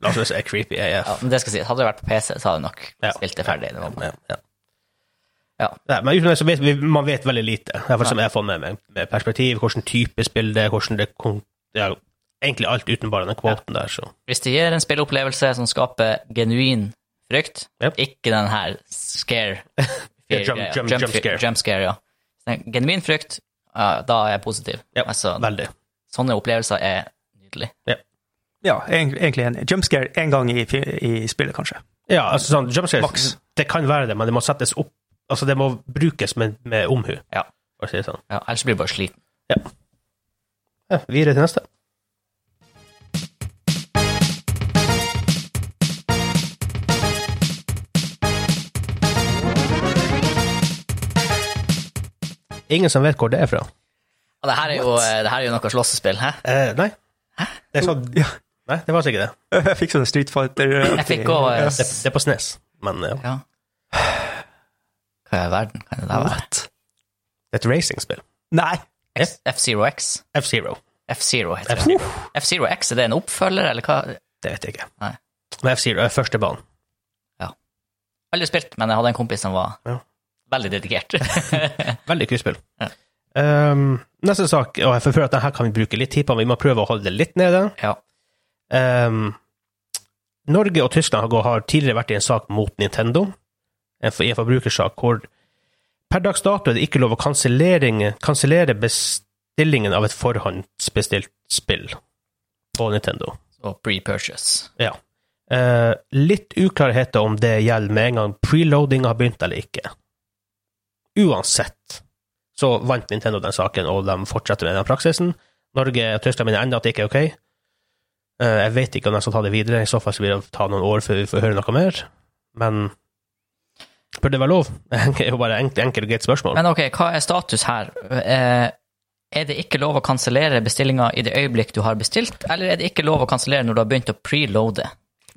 S1: La oss si det er creepy AF.
S2: Ja, men det skal sies, hadde det vært på PC, så hadde jeg nok
S1: Ja.
S2: spilt det ferdig. Det var
S1: Ja, ja.
S2: Ja.
S1: Nei, men utenom det så vet vi, man vet veldig lite. Det er for som jeg har fått med meg. Med perspektiv, hvordan type spill det er, hvordan det kon- ja, Egentlig alt uten bare den kvoten der, så
S2: Hvis det gir en spilleopplevelse som skaper genuin frykt,
S1: Yep.
S2: ikke den her scare
S1: Ja, jump- jump- jump scare.
S2: jump scare, ja. Den Genuin frykt, ja, da er jeg positiv.
S1: Ja,
S2: Altså,
S1: veldig.
S2: sånne opplevelser er nydelig.
S3: Ja, egent- egentlig enig. Jumpscare én gang i, fi- i spillet, kanskje.
S1: Ja, altså sånn jumpscare
S3: Maks.
S1: Det kan være det, men det må settes opp Altså, det må brukes med, med omhu,
S2: Ja.
S1: for å si det sånn.
S2: Ja, ellers blir du bare sliten.
S1: Ja, videre til neste. Ingen som vet hvor det er fra.
S2: Og det her er jo, eh, det her er jo noe slåssespill, hæ?
S1: Eh, nei. Det er sånn,
S3: Ja,
S1: nei, det var sikkert det.
S3: jeg fikk sånn Street Fighter
S2: Jeg fikk også eh,
S1: Det,
S2: s-
S1: det er på Snes, men ja.
S2: Ja. Hva i verden kan det der være?
S3: What?
S1: det er et racingspill.
S3: Nei.
S2: X- F-Zero-X?
S1: F-Zero.
S2: F-Zero heter det.
S1: F-Zero.
S2: F-Zero-X, er det en oppfølger, eller hva?
S1: Det vet jeg ikke.
S2: Nei.
S1: Men F-Zero er første banen.
S2: Aldri spilt, men jeg hadde en kompis som var
S1: Ja.
S2: veldig dedikert.
S1: Veldig kult spill.
S2: Ja.
S1: Ehm, neste sak, og jeg føler at denne kan vi bruke litt tid på, men vi må prøve å holde det litt nede.
S2: ja.
S1: Ehm, Norge og Tyskland har gå- har tidligere vært i en sak mot Nintendo, en for- i en forbrukersak, hvor per dags dato er det ikke lov å kansellering- kansellere bestillingen av et forhåndsbestilt spill på Nintendo.
S2: Og pre-purchase.
S1: Ja. Eh, litt uklarheter om det gjelder med en gang preloading har begynt eller ikke. Uansett så vant Nintendo den saken, og de fortsetter med den praksisen. Norge og Tyskland mener ennå at det ikke er ok. Eh, jeg vet ikke om de skal ta det videre, i så fall så vil det ta noen år før vi får høre noe mer. Men bør det være lov? Det er jo bare enkelt, enkelt og greit spørsmål.
S2: Men ok, hva er status her? Eh, er det ikke lov å kansellere bestillinga i det øyeblikk du har bestilt, eller er det ikke lov å kansellere når du har begynt å preloade?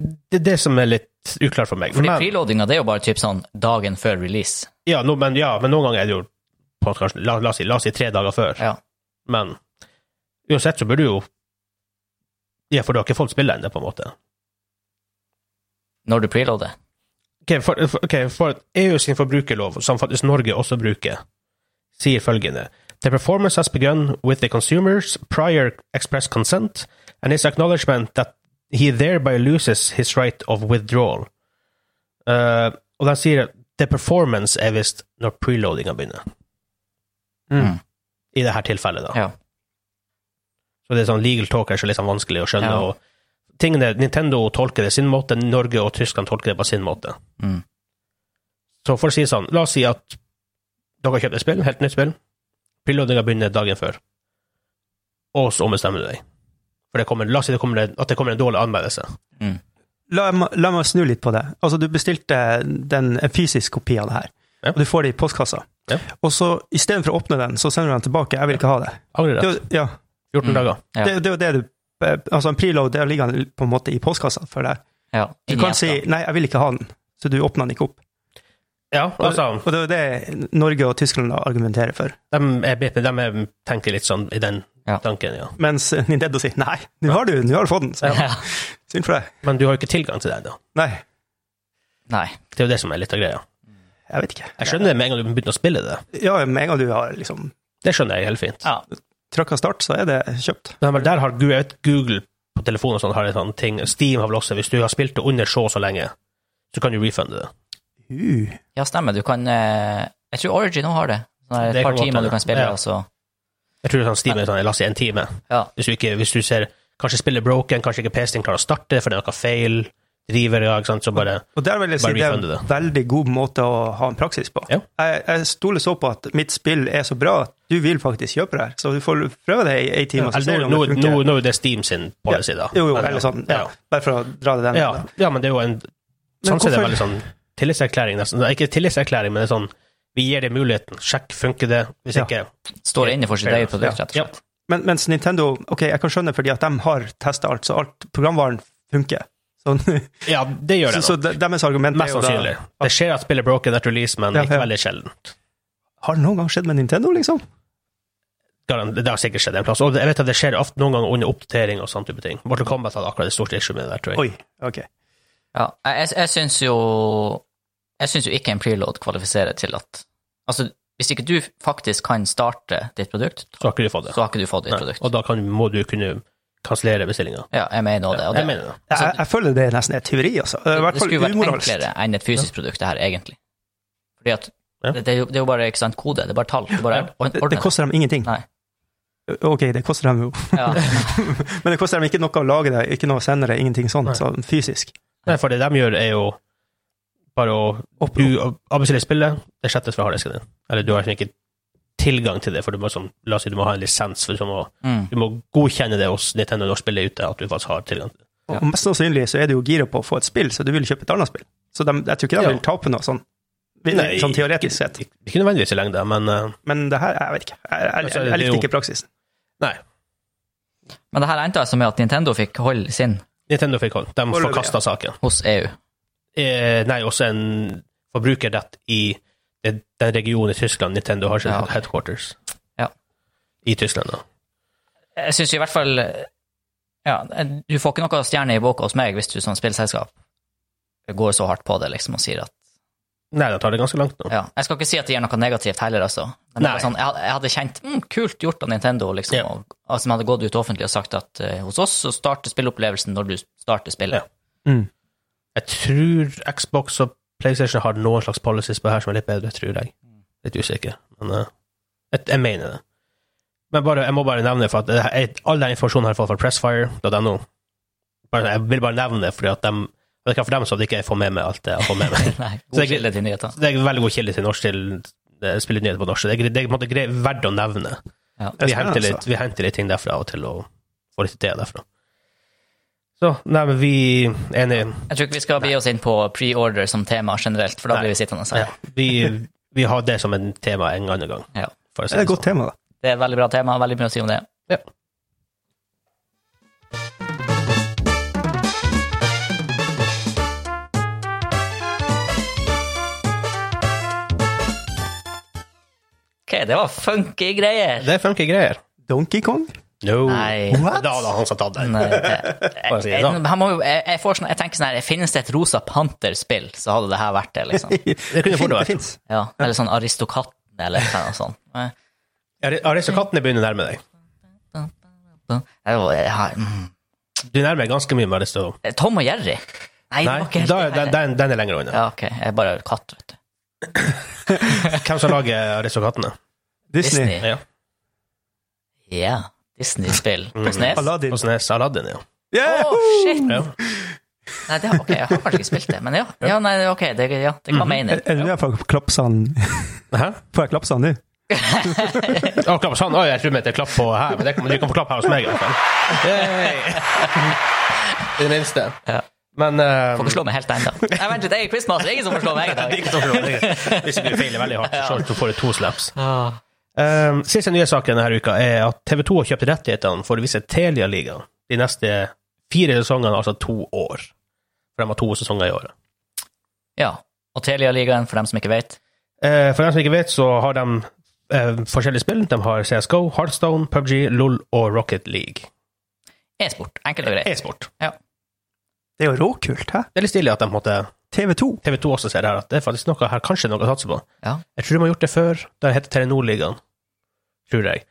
S1: Det er det som er litt uklart for meg.
S2: Fordi
S1: Men-
S2: preloadinga det er jo bare typ sånn dagen før release.
S1: Ja, no, men, ja, men noen ganger er det jo på, kanskje, la, la, oss si, la oss si tre dager før.
S2: Ja.
S1: Men uansett så burde du jo Ja, for du har ikke fått spille ennå, på en måte.
S2: Når du preloader.
S1: Ok, for, for, ok, for EU sin forbrukerlov, som faktisk Norge også bruker, sier følgende The performance has begun with the consumers prior express consent and his acknowledgement that he thereby loses his right of withdrawal. Eh, og de sier at the performance er visst når preloadinga begynner.
S2: Mm.
S1: I det her tilfellet, da.
S2: Ja.
S1: Så det er sånn legal talk er så litt sånn vanskelig å skjønne.
S2: Ja.
S1: og tingene, Nintendo tolker det sin måte, Norge og Tyskland tolker det på sin måte.
S2: Mm.
S1: Så for å si det sånn, la oss si at Dere kjøper et spill, helt nytt spill. Preloadinga begynner dagen før. Og så ombestemmer du deg. For det kommer, la oss si det kommer, en- at det kommer en dårlig anmeldelse.
S3: La, meg- la meg snu litt på det. Altså, du bestilte den, en fysisk kopi av det her,
S1: Ja.
S3: og du får det i postkassa.
S1: Ja.
S3: Og så istedenfor å åpne den, så sender du den tilbake. Jeg vil ikke ha det. Det,
S1: Angrerett.
S3: er jo- ja,
S1: 14
S2: Mm.
S1: dager.
S2: Ja.
S3: det, det er jo det du Altså, en preload, der ligger den på en måte i postkassa for deg.
S2: Ja,
S3: Du
S2: inn i
S3: kan
S2: eska.
S3: si 'nei, jeg vil ikke ha den', så du åpner den ikke opp.
S1: Ja,
S3: Og,
S1: altså,
S3: og det er jo det Norge og Tyskland da argumenterer for.
S1: de, er, bit- de er, tenker litt sånn i den
S2: Ja.
S1: tanken, ja.
S3: Mens Nintendo sier 'nei, nå har du, nå har du fått den'. Så ja.
S2: Ja.
S3: Synd for deg.
S1: Men du har jo ikke tilgang til den, da.
S3: Nei,
S2: Nei.
S1: Det er jo det som er litt av greia.
S3: jeg vet ikke.
S1: Jeg skjønner det med en gang du begynner å spille det.
S3: Ja, med en gang du har liksom
S1: Det skjønner jeg helt fint.
S2: Ja.
S3: trykka start, så er det kjøpt.
S1: Men der har Gu- jeg vet Google på telefonen og sånn har en sånn ting. Steam har vel også, hvis du har spilt det under så og så lenge, så kan du refunde det.
S3: Uh.
S2: ja, stemmer. Du kan eh, Jeg tror Origin òg har det. Sånn der,
S1: Det
S2: et par
S1: kan godt
S2: timer
S1: hende.
S2: du kan spille,
S1: Ja.
S2: og så
S1: Jeg tror sånn Steam er sånn, la oss si en time.
S2: Ja.
S1: Hvis du ikke, hvis du ser, kanskje spiller broken, kanskje ikke PC-en klarer å starte, for det er noe feil, driver, ja, ikke sant, så bare,
S3: Og der vil jeg si
S1: Bare
S3: det er
S1: refunde det.
S3: en veldig god måte å ha en praksis på.
S1: Ja.
S3: Jeg, jeg stoler så på at mitt spill er så bra at du vil faktisk kjøpe det her, så du får prøve det i ei time. og så ser
S1: eller
S3: du om
S1: nå,
S3: det
S1: nå,
S3: funker.
S1: nå er det Steam sin policy da.
S3: Jo, jo, eller sånn. Ja.
S1: Ja.
S3: Bare for å dra det den
S1: Ja,
S3: veien.
S1: ja, men det er jo en Sånn
S3: Men
S1: sett er det
S3: hvorfor-
S1: veldig sånn tillitserklæring, nesten. Nei, Ikke tillitserklæring, men det er sånn Vi gir deg muligheten. Sjekk, funker det? Hvis
S3: Ja.
S1: ikke
S2: står det inne for sitt
S1: Ja.
S2: eget produkt, rett og
S1: Ja.
S2: slett.
S3: Men, mens Nintendo Ok, jeg kan skjønne fordi at de har testa alt, så alt programvaren funker. Så,
S1: Ja, det gjør
S3: så,
S1: det.
S3: så
S1: nok.
S3: de- deres argument
S1: Mest
S3: er
S1: sannsynlig.
S3: jo da
S1: Det skjer at spillet broken etter release, men
S3: Ja,
S1: ikke
S3: ja.
S1: veldig sjeldent.
S3: Har det noen gang skjedd med Nintendo, liksom?
S1: Garan- Det har sikkert skjedd en plass. Og jeg vet at det skjer ofte noen ganger under oppdatering og sånn type ting. Mortal Kombat hadde akkurat et stort issue med det der, tror jeg.
S3: Oi, ok.
S2: Ja, jeg, jeg- jeg syns jo Jeg syns jo ikke en preload kvalifiserer til at Altså, hvis ikke du faktisk kan starte ditt produkt,
S1: Så har ikke du fått det.
S2: så har ikke du fått ditt
S1: Nei.
S2: produkt.
S1: Og da kan, må du kunne kansellere bestillinga.
S2: Ja, jeg mener også det. Og
S1: Jeg
S2: det,
S1: mener det.
S3: Jeg, jeg føler det er nesten et tyveri, altså. Det er i
S2: det,
S3: hvert fall
S2: skulle vært
S3: umoralsk.
S2: enklere enn et fysisk produkt, det her, egentlig. Fordi at
S1: Ja.
S2: det, det, er jo, det er jo bare ikke sant, kode, det er bare tall. Det er bare
S3: Det,
S2: ordne
S3: det koster dem ingenting.
S2: Nei.
S3: Ok, det koster dem jo
S2: Ja.
S3: Men det koster dem ikke noe å lage det, ikke noe å sende det, ingenting sånt,
S1: Nei.
S3: sånn fysisk.
S1: Nei, for det de gjør, er jo bare å
S3: Opp,
S1: Du avbestiller spillet, det slettes fra harddisken din. Eller du har liksom ikke tilgang til det, for du må, sånn, la oss si, du må ha en lisens. For du, må,
S2: Mm.
S1: du må godkjenne det hos Nintendo når spillet er ute, at du faktisk har tilgang. til det.
S3: og og mest sannsynlig så er du jo gira på å få et spill, så du vil kjøpe et annet spill. Så dem- jeg tror ikke de
S1: Ja.
S3: vil tape noe sånn, Vi-
S1: Nei,
S3: sånn teoretisk sett.
S1: Ik- Ikke nødvendigvis i lengde, men eh,
S3: Men det her, jeg vet ikke. Jeg, jeg,
S1: Altså,
S3: jeg,
S1: det er
S3: jeg likte
S1: jo-
S3: ikke praksisen.
S1: nei.
S2: Men det her endte altså med at Nintendo fikk hold sin
S1: Nintendo fikk hånd. De
S3: Foreløpig,
S1: forkasta saken.
S2: hos E EU.
S1: Eh, nei, også en forbrukerrett i det- den regionen i Tyskland Nintendo har sitt
S2: Ja.
S1: headquarters.
S2: Ja.
S1: I Tyskland, da.
S2: Jeg syns i hvert fall Ja, du får ikke noe stjerne i boka hos meg hvis du som spillselskap går så hardt på det liksom og sier at
S1: Nei, de tar det ganske langt nå.
S2: Ja, jeg skal ikke si at det gjør noe negativt heller, altså. Men det
S1: Nei.
S2: var sånn, jeg, had- jeg hadde kjent mm, kult gjort av Nintendo, liksom.
S1: Ja.
S2: Og, altså, man hadde gått ut offentlig og sagt at eh, hos oss så starter spillopplevelsen når du starter spillet.
S1: Jeg tror Xbox og PlayStation har noen slags policies på det her som er litt bedre, tror jeg. Litt usikker, men eh, jeg, jeg mener det. Men bare, jeg må bare nevne for at det her- jeg, all den informasjonen har jeg fått fra pressfire.no. Bare, jeg vil bare nevne det, fordi at dem- det er ikke for dem som ikke jeg får med meg alt det jeg får med meg.
S2: Nei,
S1: Så det
S2: god
S1: er ikke-
S2: kilde til nyheter.
S1: Så det er en veldig god kilde til norsk til eh, spillenyheter på norsk. Det er, gre- det er på en måte gre- verdt å nevne. Vi
S2: Ja.
S3: Det er
S1: henter,
S3: spennende, altså.
S1: litt, vi henter litt ting derfra av og til, og får litt idé derfra. Så, nei, men vi er enige.
S2: Jeg tror ikke vi skal bli oss inn på pre-order som tema generelt, for da
S1: Nei.
S2: blir vi sittende
S1: Ja,
S2: her.
S1: vi, vi har det som en tema en annen gang.
S2: Ja.
S1: For å
S3: Det
S1: si
S3: er
S1: det
S3: et godt
S1: sånn.
S3: tema, da.
S2: Det er et veldig bra tema, veldig mye å si om det.
S1: Ja.
S2: Ok, det var funky greier.
S1: Det er funky greier.
S3: Donkey Kong?
S1: No.
S2: Nei.
S1: Da hadde han som tatt
S3: Mm.
S1: den.
S2: Nei, det-
S1: Bare si det, da.
S2: Jeg- her må jo- jeg- jeg får sånn- jeg tenker sånn her, finnes det et rosa panter-spill, så hadde det her vært det, liksom.
S1: Det kunne fort
S3: fin-
S1: vært.
S3: finnes.
S2: Ja, eller sånn Aristokatten, eller noe sånt. Nei.
S1: Ari- Aristokattene begynner å nærme deg.
S2: Jeg var- jeg har- mm.
S1: Du nærmer deg ganske mye med Aristo.
S2: Tom og Jerry?
S1: Nei,
S2: Nei, det var ikke helt
S1: da,
S2: det
S1: den,
S2: heller.
S1: den- den er lenger unna.
S2: Ja, ok, jeg er bare katt, vet du.
S1: Hvem som lager Aristokattene?
S3: Disney.
S2: Disney.
S1: Ja.
S2: Ja, Disney-spill. På Snes? Å,
S3: Aladdin.
S1: Og så er Aladdin, ja.
S3: Yeah!
S2: shit!
S1: Mm. ja.
S2: Nei, det har,
S1: Mhm.
S2: ok, jeg har kanskje ikke spilt det, men ja. ja nei, ok, det, ja, det ga mening.
S3: Er det derfor klappsene
S1: Hæ?
S3: Får jeg klapsa nå?
S1: Å, klapp sånn. Oi, jeg tror det er klapp på her, men det kan, du kan få klapp her hos meg i hvert fall. Yay! I det minste.
S2: Ja.
S1: Men eh,
S2: Får ikke slå meg helt ennå. Nei, Vent litt, jeg er quizmaster. Ingen som får slå meg i
S1: det er
S2: dag.
S1: ikke så slå deg. Hvis du feiler veldig hardt, så så får du to slaps.
S2: Ah.
S1: Eh, siste nye saken denne uka er at TV2 har kjøpt rettighetene for å vise Telia-ligaen de neste fire sesongene, altså to år. For de har to sesonger i året.
S2: Ja. Og Telia-ligaen, for dem som ikke vet.
S1: Eh, for dem som ikke vet, så har de eh, forskjellige spill. De har CSGO, Heartstone, PubG, LOL og Rocket League.
S2: E-sport. Enkelt og greit.
S1: E-sport.
S3: Det er jo råkult, hæ?
S1: Det er litt stilig at de måtte
S3: TV2.
S1: TV2 også ser her, at det er faktisk noe her kanskje noe å satse på.
S2: Ja.
S1: Jeg tror de har gjort det før. Det heter Telenor-ligaen, tror jeg.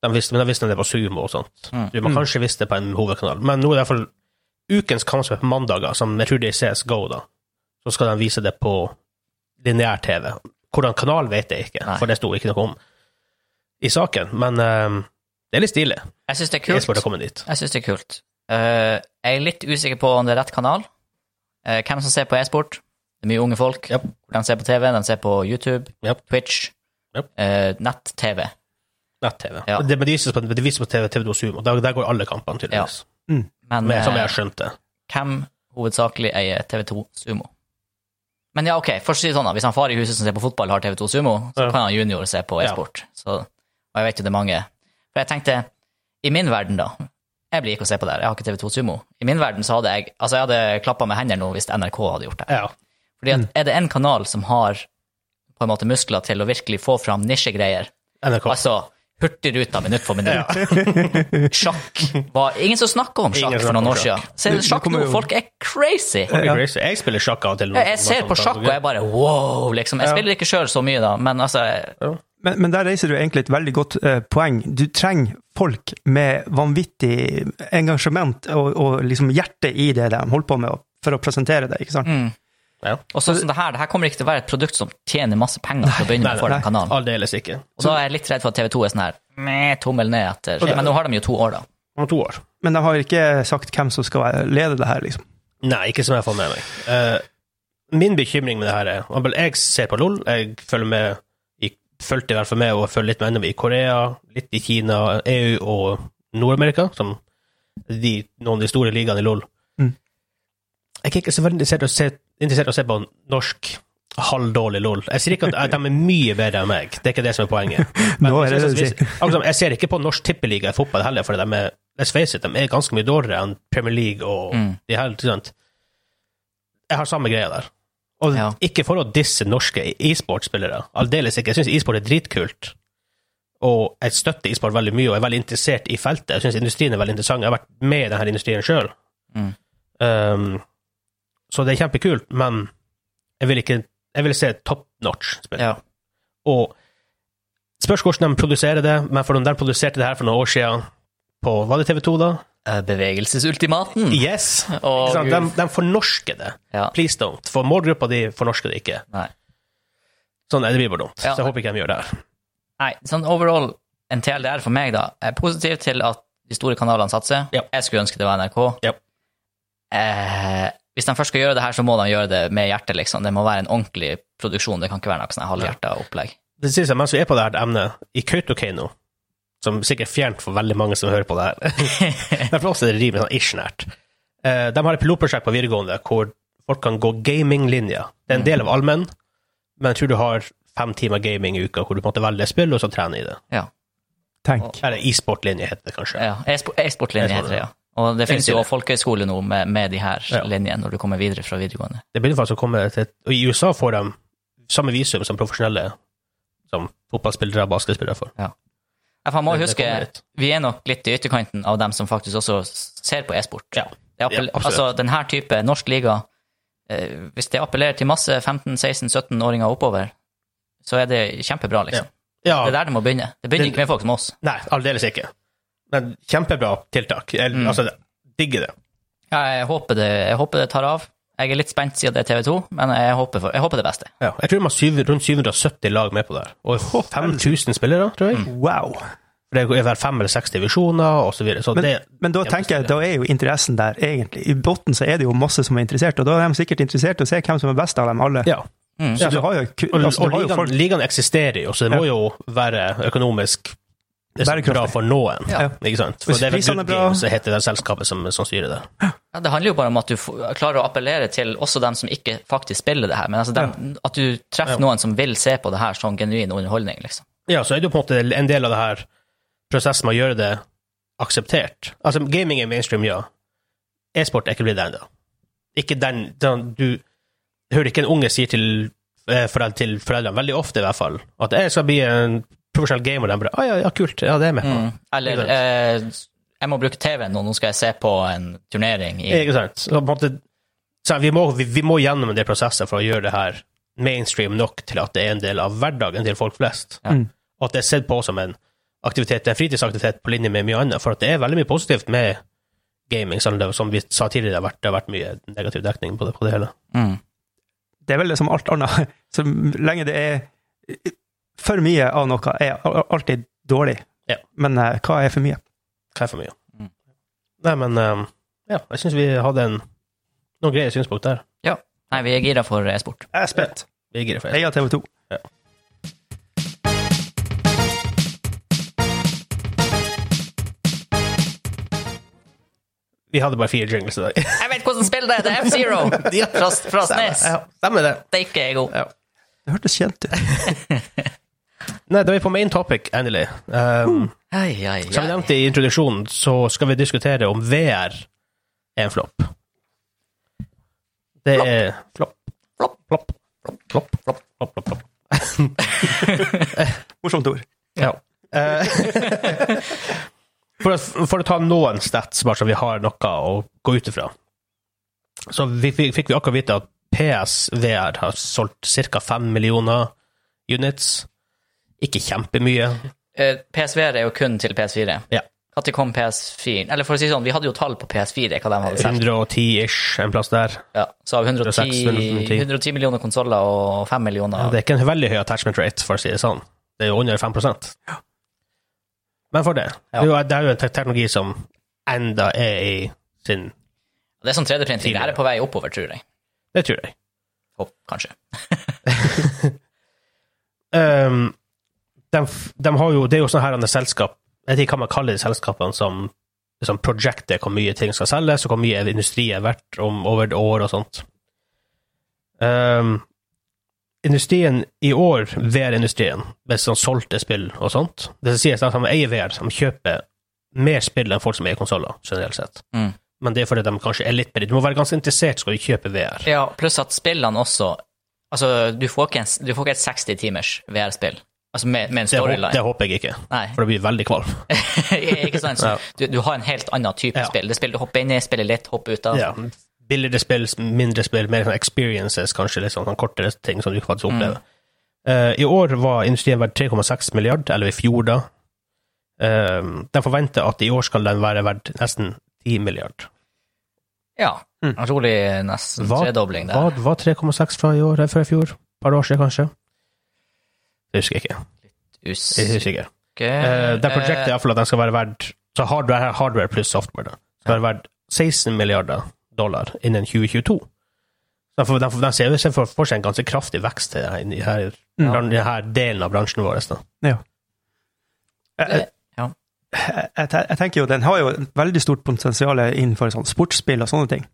S1: De visste, men da visste de det på Sumo og sånt.
S2: Mm.
S1: Tror man kanskje visste det på en hovedkanal. Men nå er det i hvert fall ukens kamp som er på mandager, som jeg tror det er CSGO, da. Så skal de vise det på lineær-TV. Hvordan kanal vet jeg ikke,
S2: Nei.
S1: for det sto ikke noe om i saken. Men eh, det er litt stilig.
S2: Jeg syns det er
S1: E-sport
S2: kult.
S1: har kommet dit.
S2: Jeg syns det er kult. Eh, jeg er litt usikker på om det er rett kanal. Eh, hvem som ser på e-sport. Det er mye unge folk.
S1: Japp.
S2: De ser på TV, de ser på YouTube,
S1: Japp.
S2: Twitch,
S1: Japp.
S2: eh, nett-TV.
S1: Nett-TV.
S2: Ja.
S1: Det, men det vises på, det vises på TV, TV2 Sumo. Der, der går alle kampene, tydeligvis.
S2: Men
S1: Med, som jeg
S2: eh,
S1: har skjønt det.
S2: hvem hovedsakelig eier TV2 Sumo? Men ja, ok, for å si det sånn, da, hvis han far i huset som ser på fotball, har TV2 Sumo, så
S1: Ja.
S2: kan han junior se på
S1: Ja.
S2: e-sport. Så, og jeg vet jo det er mange. For jeg tenkte, i min verden da, jeg blir ikke å se på det her, jeg har ikke TV2 Sumo. I min verden så hadde jeg, altså jeg hadde klappet med hendene nå hvis NRK hadde gjort det.
S1: Ja.
S2: Fordi
S1: Mm.
S2: at er det en kanal som har på en måte muskler til å virkelig få fram nisjegreier,
S1: NRK.
S2: altså hurtigruta minutt for minutt Sjakk var Ingen som snakka om sjakk
S1: Ingen
S2: for noen
S1: snakker om
S2: år siden. Se,
S3: Det- det
S2: sjakk
S3: kommer
S2: nå,
S3: jo-
S2: folk er crazy!
S1: Det er
S3: Ja.
S1: crazy. Jeg spiller sjakk av og til. nå.
S2: Jeg jeg ser på sjakk, og jeg bare wow, liksom. Jeg
S1: sånn Ja.
S2: spiller ikke sjøl så mye, da, men altså
S3: Men, men der reiser du egentlig et veldig godt eh, poeng. Du trenger folk med vanvittig engasjement og, og liksom hjerte i det de holder på med og- for å presentere det, ikke sant?
S2: mm.
S1: Ja.
S2: Og sånn som det her, det her kommer ikke til å være et produkt som tjener masse penger til å begynne
S1: nei,
S2: med for
S3: nei.
S2: den kanalen.
S1: Aldeles ikke.
S2: Og da er jeg litt redd for at TV2 er sånn her meh, tommel ned etter
S1: Og det-
S2: Men nå har de jo to år, da.
S1: Om to år.
S3: Men de har ikke sagt hvem som skal være- lede det her, liksom.
S1: Nei, ikke som jeg får med meg. Eh, min bekymring med det her er Abel, Jeg ser på LOL, jeg følger med i, fulgte i hvert fall med og følger litt med ennå i Korea, litt i Kina, EU og Nord-Amerika, som de, noen av de store ligaene i LOL.
S3: Mm.
S1: Jeg er ikke så veldig interessert i å se, interessert i å se på norsk halvdårlig LOL. Jeg sier ikke at at de er mye bedre enn meg, det er ikke det som er poenget. Men
S3: Nå er
S1: jeg synes
S3: det det du
S1: at hvis- akkurat som, jeg ser ikke på norsk tippeliga i fotball heller, for de er, let's face it, de er ganske mye dårligere enn Premier League og
S2: Mm.
S1: de her. ikke sant? Jeg har samme greia der. Og
S2: Ja.
S1: ikke for å disse norske e-sportspillere, aldeles ikke. Jeg syns e-sport er dritkult, og jeg støtter e-sport veldig mye, og er veldig interessert i feltet. Jeg syns industrien er veldig interessant. Jeg har vært med i denne industrien sjøl.
S2: Mm.
S1: Um, så det er kjempekult, men jeg vil ikke Jeg vil se top notch spill.
S2: Ja.
S1: Og spørs hvordan de produserer det, men for de der produserte det her for noen år siden på Var det TV2, da?
S2: Eh, Bevegelsesultimaten.
S1: Yes! Ikke
S2: Og
S1: sant? De, de fornorsker det.
S2: ja.
S1: Please don't. For målgruppa di fornorsker det ikke.
S2: Nei.
S1: Sånn, nei, det blir bare dumt.
S2: Ja.
S1: Så jeg håper ikke de gjør det her.
S2: Nei, sånn overall, en TLDR for meg da, er positiv til at de store kanalene satser.
S1: Ja.
S2: Jeg skulle ønske det var NRK.
S1: Ja.
S2: Eh, hvis de først skal gjøre det her, så må de gjøre det med hjertet, liksom. Det må være en ordentlig produksjon, det kan ikke være noe sånn halvhjerta opplegg.
S1: Det sier seg mens vi er på det her emnet, i Kautokeino, som sikkert er fjernt for veldig mange som hører på det her, men for oss er det rimelig sånn ish-nært. Eh, De har et pilotprosjekt på videregående hvor folk kan gå gaming-linja. Det er en del av allmenn, men jeg tror du har fem timer gaming i uka hvor du på en måte velger spill og så trene i det.
S2: Ja.
S3: Tenk.
S1: Eller e-sport-linje heter det kanskje.
S2: ja. E-spo- E-sportlinje
S1: E-sport,
S2: heter det, ja. Og det finnes jo
S1: E-sport.
S2: også folkehøyskole nå med, med de her
S1: Ja.
S2: linjene når du kommer videre fra videregående.
S1: Det begynner faktisk å komme til Og i USA får de samme visum som profesjonelle som fotballspillere og basketspillere får.
S2: Ja, for Man må
S1: Det-
S2: jo
S1: det kommer
S2: huske,
S1: litt.
S2: vi er nok litt i ytterkanten av dem som faktisk også s- ser på e-sport.
S1: Ja.
S2: Det appell-
S1: Ja, absolutt.
S2: altså, den her type norsk liga, eh, hvis det appellerer til masse 15-16-17-åringer oppover, så er det kjempebra, liksom.
S1: ja.
S2: Det er der det må begynne. Det begynner
S1: Det-
S2: ikke med folk som oss.
S1: Nei, aldeles ikke. Men kjempebra tiltak. Jeg,
S2: Mm.
S1: Altså, digger det.
S2: Ja, jeg, håper det, jeg håper det tar av. Jeg er litt spent siden det er TV 2, men jeg håper, for, jeg håper det beste.
S1: Ja. Jeg tror man har syv, rundt 770 lag med på det. her. Og 5000 spillere, tror
S3: Mm.
S1: jeg.
S3: Wow.
S1: For Det er vel fem eller seks divisjoner, og så videre. Så
S3: Men,
S1: det,
S3: men da
S1: jeg
S3: tenker jeg,
S1: forstår
S3: da er jo interessen der, egentlig. I bunnen så er det jo masse som er interessert, og da er de sikkert interessert i å se hvem som er best av dem alle.
S1: ja.
S2: Mm.
S3: Så
S1: Ja,
S3: du
S1: så-
S3: har jo, ku-
S1: Og,
S3: altså,
S1: og
S3: du har jo folk
S1: ligaen, ligaen eksisterer jo, så det må jo være økonomisk bra
S3: Bærekraftig.
S1: for noen.
S2: Ja.
S1: Ikke sant? For
S3: Hvis
S1: det er vel
S3: prisene er bra-
S1: Goodgame som heter det selskapet som, som styrer det.
S2: Ja, det handler jo bare om at du får- klarer å appellere til også dem som ikke faktisk spiller det her, men altså dem, at du treffer
S1: Ja.
S2: noen som vil se på det her som genuin underholdning, liksom.
S1: Ja, så er det jo på en måte en del av det her prosessen med å gjøre det akseptert. Altså, gaming er mainstream, ja. E-sport er ikke blitt det ennå. Ikke den, den Du hører ikke en unge si til, eh, forel- til foreldrene, veldig ofte i hvert fall, at 'jeg skal bli en profesjonell gamer'. De bare 'Å ja, ja, kult. Ja, det er jeg
S2: Mm.
S1: med på'.
S2: Eller
S1: Ikke
S2: eh, jeg må bruke TV-en nå, nå skal jeg se på en turnering i
S1: Ikke sant? Så på en måte, så vi, må, vi, vi må gjennom en del prosesser for å gjøre det her mainstream nok til at det er en del av hverdagen til folk flest.
S2: Ja.
S3: Mm.
S1: Og at det er sett på som en aktivitet, en fritidsaktivitet på linje med mye annet. For at det er veldig mye positivt med gaming, selv om det, som vi sa tidligere, det har vært, det har vært mye negativ dekning på det, på det hele.
S2: mm.
S3: Det er vel som alt annet. Så lenge det er For mye av noe er al- alltid dårlig.
S1: Ja.
S3: Men eh, hva er for mye?
S1: Hva er for mye?
S2: Mm.
S1: Nei, men um, ja, jeg syns vi hadde en, noen greie synspunkt der.
S2: Nei, vi er gira for e-sport.
S3: Jeg er spent.
S1: Vi er gira for det.
S3: Heia TV 2.
S1: Vi hadde bare fire jingles i dag.
S2: Jeg vet hvordan spillet er! Det er F-Zero! Fra, fra Snes.
S1: Ja, Stemmer det.
S2: Steike er god.
S3: Det hørtes kjent ut.
S1: Nei, da er vi på main topic, endelig. Um,
S2: Ai, ai,
S1: Som jeg
S2: ai.
S1: nevnte i introduksjonen, så skal vi diskutere om VR er en flopp. Det er flopp. Flopp, flopp, flopp, flopp, flopp, flopp, flopp, flopp.
S3: Morsomt ord.
S1: Ja. Eh, for, å, for å ta noen stats, bare så vi har noe å gå ut ifra, så vi, vi, fikk vi akkurat vite at PSVR har solgt ca. 5 millioner units. Ikke kjempemye.
S2: Eh, PSVR er jo kun til PS4.
S1: Ja.
S2: Når kom PS4? Eller for å si sånn, vi hadde jo tall på PS4, hva de hadde solgt.
S1: 110-ish, en plass der.
S2: Ja, så av 110,
S1: 110.
S2: 110 millioner konsoller og 5
S1: Ja,
S2: millioner
S1: det er ikke en veldig høy attachment rate, for å si det sånn. Det er jo under 5 Men for det.
S2: Ja.
S1: Det er jo- Det er jo en te- teknologi som enda er i sin
S2: Det er sånn 3D-printing. Det her er på vei oppover, tror jeg.
S1: Det tror jeg.
S2: Håp, kanskje.
S1: Um, de, f- de har jo, det er jo sånne her andre selskap Jeg vet ikke hva man kaller de selskapene som som projecter hvor mye ting skal selges, og hvor mye industri er verdt om, over et år og sånt. Um, industrien i år, VR-industrien, med sånn solgte spill og sånt Det som sies er at de eier VR, som kjøper mer spill enn folk som eier konsoller, generelt sett.
S2: Mm.
S1: Men det er fordi de kanskje er litt bedre. Du må være ganske interessert skal du kjøpe VR.
S2: Ja, pluss at spillene også Altså, du får ikke, en, du får ikke et 60 timers VR-spill. Altså med, med en
S1: Det, hå- det
S2: storyline.
S1: håper jeg ikke,
S2: Nei,
S1: for det blir veldig kvalm.
S2: ikke sant? Så
S1: Ja.
S2: du, du har en helt annen type
S1: Ja.
S2: spill. Det spill. Du hopper inn i, spiller litt, hopper ut av.
S1: Ja. Billigere spill, mindre spill, mer sånn experiences, kanskje litt sånn, sånn kortere ting som du faktisk opplever.
S2: Mm.
S1: Eh, I år var industrien verdt 3,6 milliard, eller i fjor da. Eh, de forventer at i år skal den være verdt nesten 10 milliard.
S2: Ja. En rolig nesten tredobling der.
S1: Mm. Hva var 3,6 fra i år, eller fra i fjor? Et par år siden, kanskje? Jeg husker ikke. Jeg
S2: Usikker.
S1: husker ikke. Uh, det
S2: Eh,
S1: prosjektet er iallfall at den skal være verdt Så hardware, her er hardware pluss software da, skal være verdt 16 milliarder dollar innen 2022. Så den, får- den, får- den ser jo seg for, for seg en ganske kraftig vekst i denne, her,
S3: Ja.
S1: bran- i denne delen av bransjen vår. Da.
S3: Jeg, jeg,
S2: Eh, Ja.
S3: jeg, jeg jeg tenker jo, Den har jo et veldig stort potensial innenfor sånn sportsspill og sånne ting.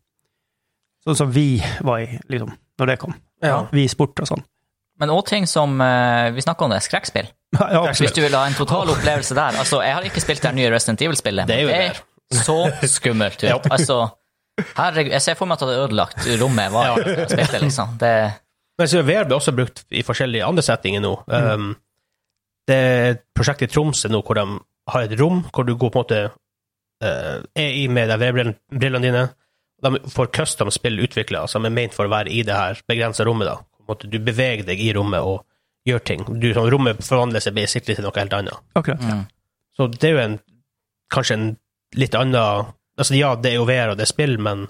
S3: Sånn som vi var i, liksom, når det kom.
S2: Ja.
S3: Vi i sport og sånn.
S2: Men òg ting som eh, Vi snakker om det, skrekkspill.
S3: Ja, absolutt.
S2: Hvis du vil ha en total opplevelse der Altså, jeg har ikke spilt det nye Resident Evil-spillet.
S1: Det er jo
S2: men
S1: der.
S2: så skummelt ut. Altså, herregud, jeg ser for meg at det hadde ødelagt rommet jeg var i. da jeg spilte, liksom. Det,
S1: Men så VR blir også brukt i forskjellige andre settinger nå. Um, det er et prosjekt i Tromsø nå hvor de har et rom hvor du går på en måte uh, er i med de VR-brillene dine. De får custom spill utvikla som er ment for å være i det her begrensa rommet. da. På en måte, du beveger deg i rommet og gjør ting. Du, sånn, rommet forvandler seg basically til noe helt annet.
S3: Akkurat.
S2: mm.
S1: Så det er jo en, kanskje en litt annen Altså ja, det er jo VR og det er spill, men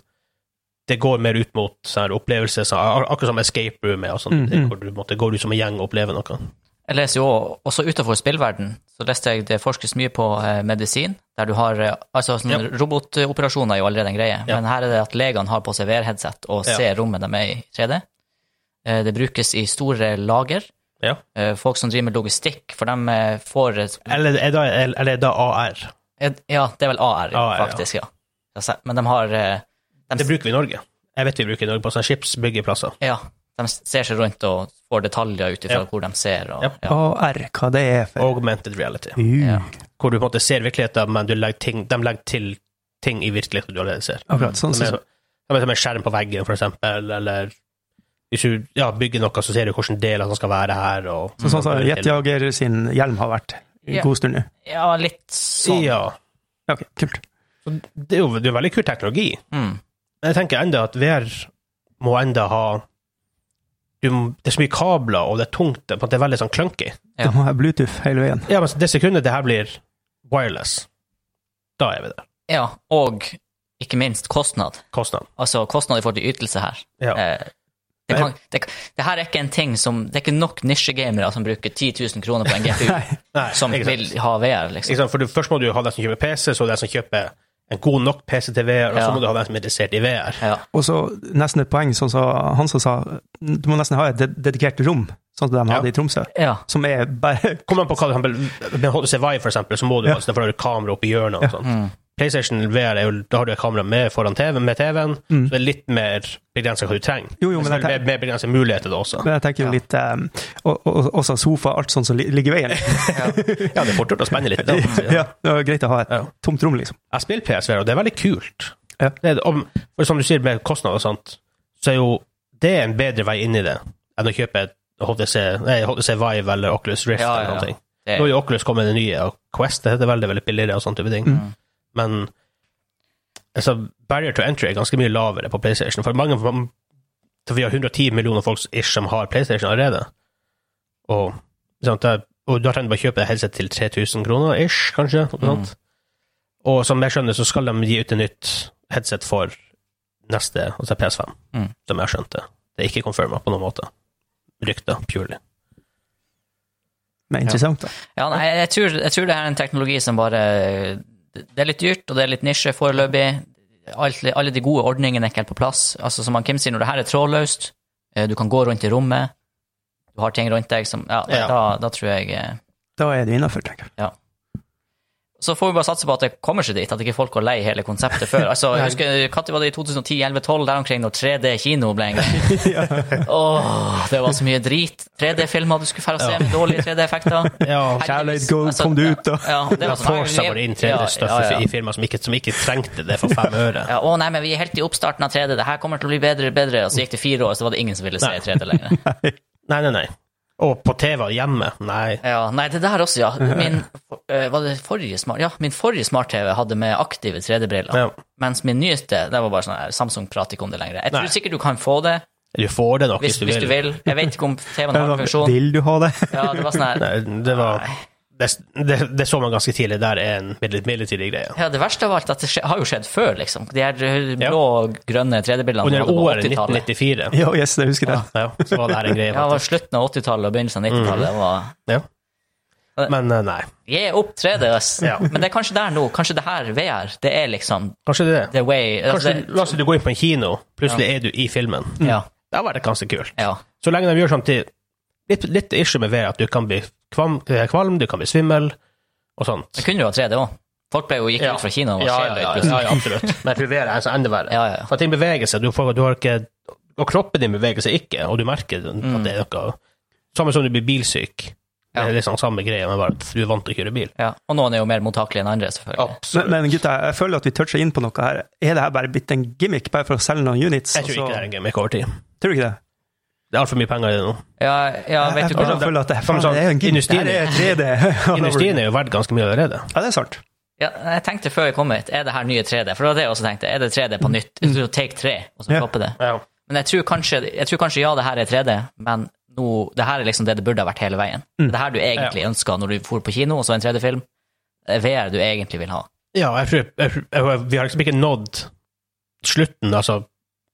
S1: det går mer ut mot sånne opplevelser, så, ak- akkurat som escape room er, og sånne
S3: Mm,
S1: ting,
S3: mm.
S1: hvor du måtte, går ut som en gjeng og opplever noe.
S2: Jeg leser jo også utenfor spillverden, så leste jeg det forskes mye på eh, medisin, der du har eh, Altså, sånne robotoperasjoner er jo allerede en greie,
S1: Ja.
S2: men her er det at legene har på seg VR-headset og
S1: Ja.
S2: ser rommet de er i 3D. Eh, Eh, Det brukes i store lager.
S1: Ja.
S2: Eh, Folk som driver med logistikk, for de eh, får et-
S1: Eller er da, eller er da AR.
S2: et- Ja, det er vel AR,
S1: AR, ja.
S2: faktisk, ja. Altså, Men de har eh,
S1: Det bruker vi i Norge. Jeg vet vi bruker det i Norge på sånne skipsbyggeplasser.
S2: Ja, de ser seg rundt og får detaljer ut ifra
S1: Ja.
S2: hvor de ser. Og,
S1: Ja.
S2: ja.
S3: AR, hva det er for
S1: Augmented reality.
S3: Uh,
S1: Hvor du på en måte ser virkeligheten, men du legger ting, de legger til ting i virkeligheten du allerede ser.
S3: Akkurat. Sånn
S1: Som
S3: som
S1: er, som er som en skjerm på veggen, for eksempel, eller hvis du ja, bygger noe, så ser du hvilken del som skal være her. Og,
S3: sånn, sånn, som Jetjager sin hjelm har vært i
S2: Mm. Ja.
S3: god stund nå.
S2: ja, litt sånn.
S1: Ja.
S3: Ok, kult.
S1: Så det er jo det er jo veldig kul teknologi.
S2: Mm.
S1: Men jeg tenker enda at VR må enda ha du, må- Det er så mye kabler, og det er tungt. Det på en måte er veldig sånn clunky.
S2: Ja.
S3: Da må jeg ha Bluetooth hele veien.
S1: Ja, men det sekundet det her blir wireless, da er vi der.
S2: ja, og ikke minst kostnad.
S1: Kostnad.
S2: Altså kostnad i forhold til ytelse her.
S1: Ja.
S2: Eh, det, kan, det, kan- det her er ikke en ting som Det er ikke nok nisjegamere som bruker 10 000 kroner på en GPU
S1: Nei,
S2: som
S1: ikke sant.
S2: vil ha VR, liksom.
S1: Ikke sant? For du, først må du ha den som kjøper PC, så den som kjøper en god nok PC til VR, og så
S2: Ja.
S1: må du ha den som er interessert i VR.
S2: Ja.
S3: Og så nesten et poeng, sånn som han som sa, du må nesten ha et ded- dedikert rom, sånn som de hadde i Tromsø,
S2: ja.
S3: som er bare
S1: Kommer an på hva det eksempel- med HTC Vive, for eksempel, så må du
S3: Ja.
S1: ja. altså, for da har du kamera oppi hjørnet. og sånt. PlayStation VR, er jo, da har du et kamera med foran TV, med TV-en, så det er litt mer begrenset hva du trenger.
S3: Mm. Jo, jo, men
S1: Så det
S3: jeg
S1: er mer, mer begrenset muligheter da også.
S3: Men jeg tenker jo litt um, og, og, Også sofa, alt sånt som li- ligger i veien.
S1: Ja, det er fort gjort å spenne litt. Da.
S3: ja, det var greit å ha et
S1: Ja.
S3: tomt rom, liksom.
S1: Jeg spiller PSVR, og det er veldig kult.
S3: Ja.
S1: Det er, om, for som du sier, med kostnader og sånt, så er jo det en bedre vei inn i det enn å kjøpe et HTC, nei, HTC Vive eller Oculus Rift
S2: Ja,
S1: eller
S2: ja, ja.
S1: noe. ting.
S2: Det-
S1: Nå er jo Oculus kommet med det nye, og Quest det heter veldig, veldig billigere og sånne type ting. Men altså, barrier to entry er ganske mye lavere på PlayStation, for mange for vi har 110 millioner folk ish som har PlayStation allerede. Og, sant, det, og da trenger du bare kjøpe deg headset til 3000 kroner ish, kanskje. Noe sånt. Og som jeg skjønner, så skal de gi ut et nytt headset for neste, altså PS5,
S2: Mm.
S1: som jeg skjønte. Det er ikke confirma på noen måte. Rykter, purely.
S3: Men interessant, da.
S2: Ja, nei, jeg tror, jeg tror det her er en teknologi som bare Det er litt dyrt, og det er litt nisje foreløpig. Alt, alle de gode ordningene er ikke helt på plass. Altså, som han Kim sier, når det her er trådløst, eh, du kan gå rundt i rommet, du har ting rundt deg som Ja,
S1: Ja.
S2: Da, da tror jeg eh,
S3: Da er det innafor, tenker jeg.
S2: Så får vi bare satse på at det kommer seg dit, at ikke folk går lei hele konseptet før. Altså, jeg husker, Når var det i 2010-2012, der omkring, når 3D-kino ble en gang? Åh, det var så mye drit. 3D-filmer du skulle fære og se, med dårlige 3D-effekter.
S1: Ja,
S3: Kjærlighet, go, kom du ut, da.
S2: altså, Ja, det var sånn,
S1: Forsa bare inn 3D-støff i firmaer som, ikke- som ikke trengte det for fem øre.
S2: Ja, å nei, men vi er helt i oppstarten av 3D, det her kommer til å bli bedre og bedre. Og så gikk det fire år, så var det ingen som ville se 3D lenger.
S1: Nei, nei, nei. Og på TV og hjemme. Nei.
S2: Ja, nei, det der også, ja. Min, eh, var det forrige smart, ja, min forrige smart-TV hadde med aktive 3D-briller.
S1: Ja.
S2: Mens min nyeste, det var bare sånn her, Samsung prater ikke om det lenger. Jeg tror
S1: Nei.
S2: sikkert du kan få det,
S1: Du får det nok
S2: hvis, hvis du vil. Jeg vet ikke om TV-en har en funksjon.
S3: Vil du ha det?
S2: Ja, det var sånn her.
S1: Nei, det var det, det, det så man ganske tidlig. Der er en middel- midlertidig greie.
S2: Ja, det verste av alt, at det skje, har jo skjedd før, liksom. De her eh, blå, grønne 3D-brillene
S1: Under
S2: som var
S1: året
S2: på 80-tallet.
S1: 1994
S3: Ja, yes, jeg husker det.
S1: ja, så var det her en greie.
S2: Ja,
S1: faktisk.
S2: det
S1: Mm.
S2: var slutten av 80-tallet og begynnelsen av 90-tallet. Det var...
S1: Ja. Men eh, nei.
S2: Gi opp 3DS.
S1: Ja.
S2: Men det er kanskje der nå. Kanskje det her, VR, det er liksom
S1: Kanskje det. er det.
S2: the way altså
S1: Kanskje, Mm.
S2: det,
S1: la oss si du går inn på en kino, plutselig er du i filmen.
S2: Ja.
S1: Det hadde vært ganske kult.
S2: ja.
S1: Så lenge de gjør sånn til litt, litt issue med VR, at du kan bli kvam, eh, kvalm, du kan bli svimmel og sånt.
S2: Det kunne jo ha 3D òg. Folk ble jo gikk ut fra Kina og var
S1: ja, ja,
S2: skjeve
S1: ja,
S2: plutselig.
S1: ja, ja, absolutt. Men jeg tror VR er så enda verre.
S2: Ja, ja, ja.
S1: For ting beveger seg, du, får, du har ikke Og kroppen din beveger seg ikke, og du merker den- at det er noe Samme som du blir bilsyk.
S2: Ja.
S1: Det er liksom samme greie, men bare at du er vant til å kjøre bil.
S2: Ja. Og noen er jo mer mottakelige enn andre, selvfølgelig.
S1: Absolutt.
S3: Men, men gutta, jeg føler at vi toucher inn på noe her. Er det her bare blitt en gimmick, bare for å selge noen units? Altså,
S1: Jeg tror ikke det er en gimmick over tid.
S3: Tror du ikke det?
S1: Det er altfor mye penger i det nå.
S2: Ja, ja
S3: Jeg,
S2: vet du
S3: bare
S2: hva.
S3: føler at det,
S1: Som
S3: faen,
S1: sånn,
S3: det er jo en gimmick.
S1: industrien-
S3: Det her er 3D.
S1: Industrien er jo verdt ganske mye allerede.
S3: Ja, det er sant.
S2: Ja, jeg tenkte før vi kom hit, er det her nye 3D? For det var det jeg også tenkte. Er det 3D på nytt? Jeg tror Take 3, og så
S3: Ja.
S2: flopper det.
S1: Ja.
S2: Men jeg tror, kanskje, jeg tror kanskje ja, det her er 3D, men nå, det her er liksom det det burde ha vært hele veien. Det her du egentlig ønska når du for på kino og så en 3D-film. Det er VR du egentlig vil ha.
S1: ja, jeg tror, jeg, jeg, vi har liksom ikke nådd slutten altså,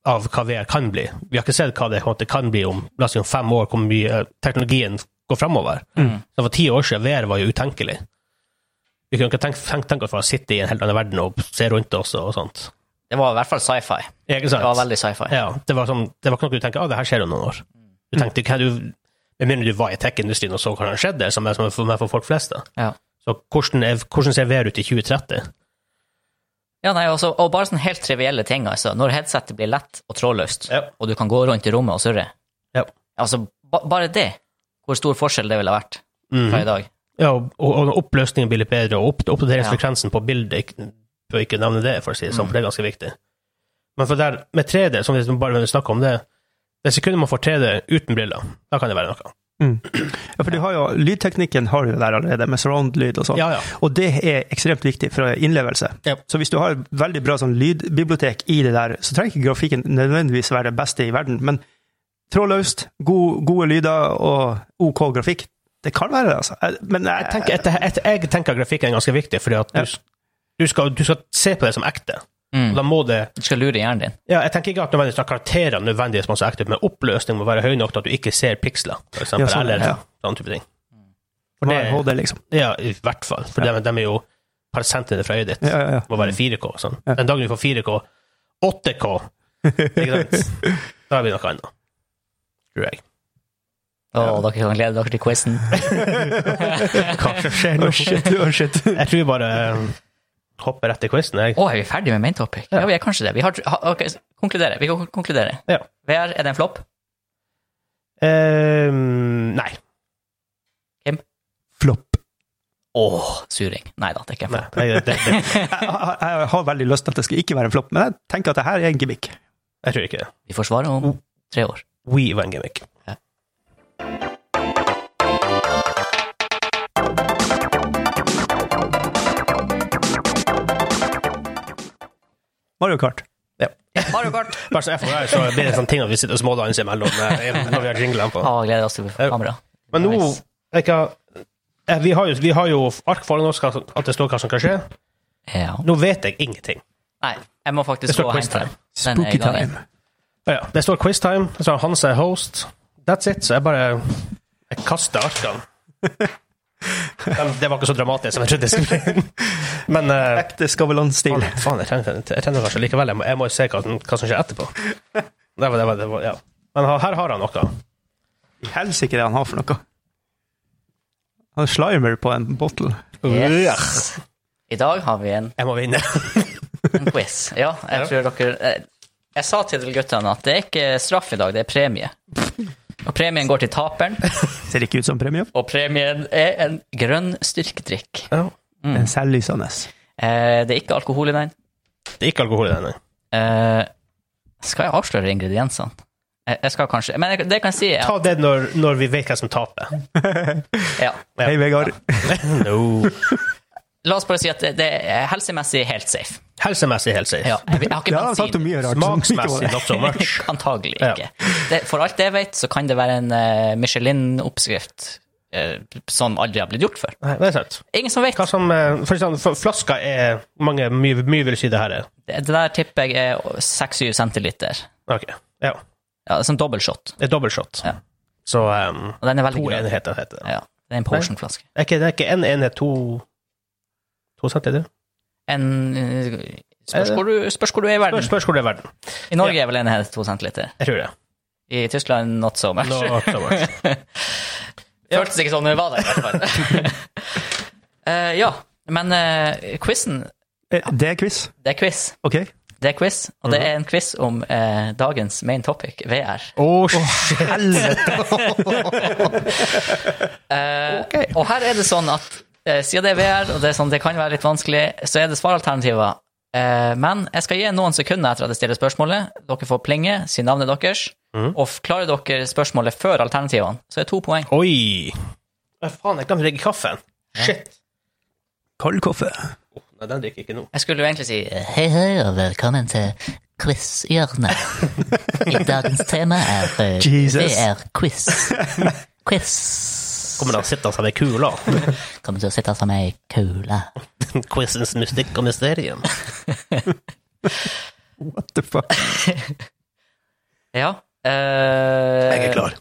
S1: av hva VR kan bli. Vi har ikke sett hva det på en måte kan bli om la oss si om fem år, hvor mye eh, teknologien går framover. Så For ti år siden VR var jo utenkelig. Vi kunne ikke tenke, tenke, tenke oss for å sitte i en helt annen verden og se rundt oss og sånt.
S2: Det var i hvert fall sci-fi.
S1: Ikke sant?
S2: Det var veldig sci-fi.
S1: Ja, det var, sånn, det var ikke noe du tenker at det her skjer om noen år. Du Du tenkte hva du Med mindre du var i tech-industrien og så hva som skjedde, som er som er for, meg for folk flest. da.
S2: Ja.
S1: Så hvordan, er, hvordan ser VR ut i 2030?
S2: Ja, nei, også, og bare sånne helt trivielle ting, altså. Når headsetet blir lett og trådløst,
S1: Ja.
S2: og du kan gå rundt i rommet og surre.
S1: Ja.
S2: Altså, ba bare det. Hvor stor forskjell det ville ha vært fra i dag.
S1: Ja, og, og når oppløsningen blir litt bedre, og opp, oppdateringsfrekvensen på bildet ikke- Bør ikke nevne det, for å si det sånn, for det
S3: Mm.
S1: er ganske viktig. Men for der, med 3D, som vi liksom bare snakker om det Det sekundet man får 3D uten briller, da kan det være noe.
S3: Ja, for du har jo, Lydteknikken har du jo der allerede, med surround-lyd og sånn.
S1: Ja, ja.
S3: Og det er ekstremt viktig for innlevelse.
S1: Ja.
S3: Så hvis du har et veldig bra sånn lydbibliotek i det der, så trenger ikke grafikken nødvendigvis være det beste i verden, men trådløst, god, gode lyder og ok grafikk, det kan være det, altså. Jeg- Men jeg,
S1: Jeg tenker, et, et, jeg tenker at grafikken er ganske viktig, fordi at
S3: Ja.
S1: du, du, skal, du skal se på det som ekte.
S2: Mm.
S1: Og da må det
S2: Du skal lure hjernen din.
S1: Ja, jeg tenker ikke at nødvendigvis at karakterene nødvendigvis må se ekte ut, men oppløsning må være høy nok til at du ikke ser piksler, for eksempel,
S3: Ja, sånn,
S1: eller
S3: ja.
S1: sånn type ting.
S3: for
S1: For
S3: det,
S1: det,
S3: HD, liksom.
S1: ja, i hvert fall. For de, de er jo par centimeter fra øyet ditt.
S3: Ja, ja, ja.
S1: Må være 4K og sånn.
S3: Ja.
S1: Den dagen du får 4K, 8K, ikke sant? da blir det noe annet. Tror jeg.
S2: Å, dere kan glede dere til quizen.
S1: Hva som skjer
S3: Å,
S1: nå?
S3: shit, å, shit.
S1: Jeg tror bare eh, hopper rett til quizen, jeg.
S2: Å, er vi ferdige med main topic? Ja, vi er kanskje det. Vi har, ha, ok, konkludere. Vi kan konkludere.
S1: Ja.
S2: VR, er det en flopp?
S1: Eh, nei.
S3: Flopp.
S2: Åh, suring. Nei da, det er ikke en
S1: nei
S2: flopp.
S1: jeg, det, det,
S3: Jeg, jeg, jeg har veldig lyst til at det skal ikke være en flopp, men jeg tenker at det her er en gimmick.
S1: jeg tror ikke det.
S2: Vi får svare
S1: Mm.
S2: om tre år.
S1: We var en gimmick.
S2: Ja.
S3: Mario Kart.
S2: Mario Kart!
S1: Bare så jeg får være, så blir det sånne ting at vi sitter og smådanser imellom eh, når vi har jinglene på.
S2: Å, gleder oss til kamera.
S1: Men nå
S2: Ah, Nice.
S1: jeg kan- eh, vi, har jo, vi har jo ark foran oss hva som- at det står hva som kan skje.
S2: Ja.
S1: Nå vet jeg ingenting.
S2: Nei, jeg må
S1: Det
S2: faktisk
S1: står
S2: gå og
S1: quiz
S2: hente den.
S1: time.
S2: Den er i
S3: Spooky
S2: gangen.
S3: time.
S1: Å Ja, det står quiztime, det står Hans er host. That's it. Så jeg bare jeg kaster arkene. Men Det var ikke så dramatisk som jeg trodde det skulle bli. Men eh,
S3: Ekte Skavlan-stil.
S1: faen, faen, jeg trenger jeg trenger kanskje likevel. Jeg må, jeg må jo se hva, som- hva som skjer etterpå. Det var, det var, det var, ja. Men ha- her har han noe.
S3: I helsike det han har for noe. Han har slimer på en bottle.
S2: Yes. I dag har vi en,
S1: Jeg må vinne.
S2: en quiz. Ja, jeg
S1: Ja.
S2: tror dere eh, Jeg sa til guttene at det er ikke straff i dag, det er premie. Og premien går til taperen,
S3: Ser ikke ut som premie.
S2: og premien er en grønn styrkedrikk.
S1: Ja.
S3: Den er selvlysende.
S2: Eh, det er ikke alkohol i den.
S1: Det er ikke alkohol i den. nei.
S2: Eh, skal jeg avsløre ingrediensene? Jeg, jeg skal kanskje Men jeg, det kan jeg si. Ja.
S1: Ta det når, når vi vet hvem som taper.
S2: ja.
S1: Ja.
S3: Hei, Vegard.
S1: No.
S2: La oss bare si at det, det er helsemessig helt safe.
S1: Helsemessig helt safe.
S2: Ja, jeg, jeg har ikke
S3: Det har han
S2: bensin.
S3: sagt om mye rart. som ikke var
S1: Smaksmessig
S3: det.
S1: not so much.
S2: Antagelig
S1: Ja.
S2: ikke. Det, for alt jeg vet, så kan det være en eh, Michelin-oppskrift eh, som aldri har blitt gjort før.
S1: Nei, det er sant.
S2: Ingen som vet.
S1: Hva som, eh, for eksempel, for flaska er mange, mye, mye vil si det her er.
S2: Det det der tipper jeg er 6-7 centiliter.
S1: Ok, ja.
S2: Ja, som dobbeltshot.
S1: Det er dobbeltshot.
S2: Ja.
S1: Så um,
S2: Og den er veldig
S1: to
S2: grønn.
S1: enheter heter det.
S2: Ja, det er en potionflaske.
S1: Er ikke, det er ikke en enhet, to To centimeter?
S2: En eh, Spørs hvor, du, spørs hvor du er i
S1: Spørs,
S2: verden.
S1: spørs hvor det er i verden.
S2: I Norge er vel en helt 2 centiliter.
S1: Jeg tror det.
S2: I Tyskland not so much.
S1: No, not so much.
S2: Føltes ikke sånn når vi var der, i hvert fall. Eh, ja, men uh, quizen,
S3: Eh, Det er quiz.
S2: det er quiz.
S3: Ok.
S2: Det er quiz, og det er en quiz om eh, dagens main topic, VR.
S1: Å, shit.
S3: Helvete!
S2: Eh, Og her er det sånn at eh, siden det er VR, og det, er sånn, det kan være litt vanskelig, så er det svaralternativer. Eh, men jeg skal gi noen sekunder etter at jeg stiller spørsmålet. Dere får plinge, si navnet deres. Og klarer dere spørsmålet før alternativene, så er det to poeng.
S1: Oi. Hva faen, jeg glemte å drikke kaffen. Shit.
S3: Kald kaffe.
S1: Nei, den drikker jeg ikke nå.
S2: Jeg skulle jo egentlig si eh,
S4: Hei, hei, og velkommen til Quiz-hjørnet. I dagens tema er eh,
S3: Jesus.
S4: VR-quiz. Quiz.
S1: Kommer han sittende som ei kule?
S4: Kommer til å sitte som ei kule.
S1: Quizens mystikk og mysterium.
S3: What the fuck?
S2: ja. eh,
S1: Jeg er klar.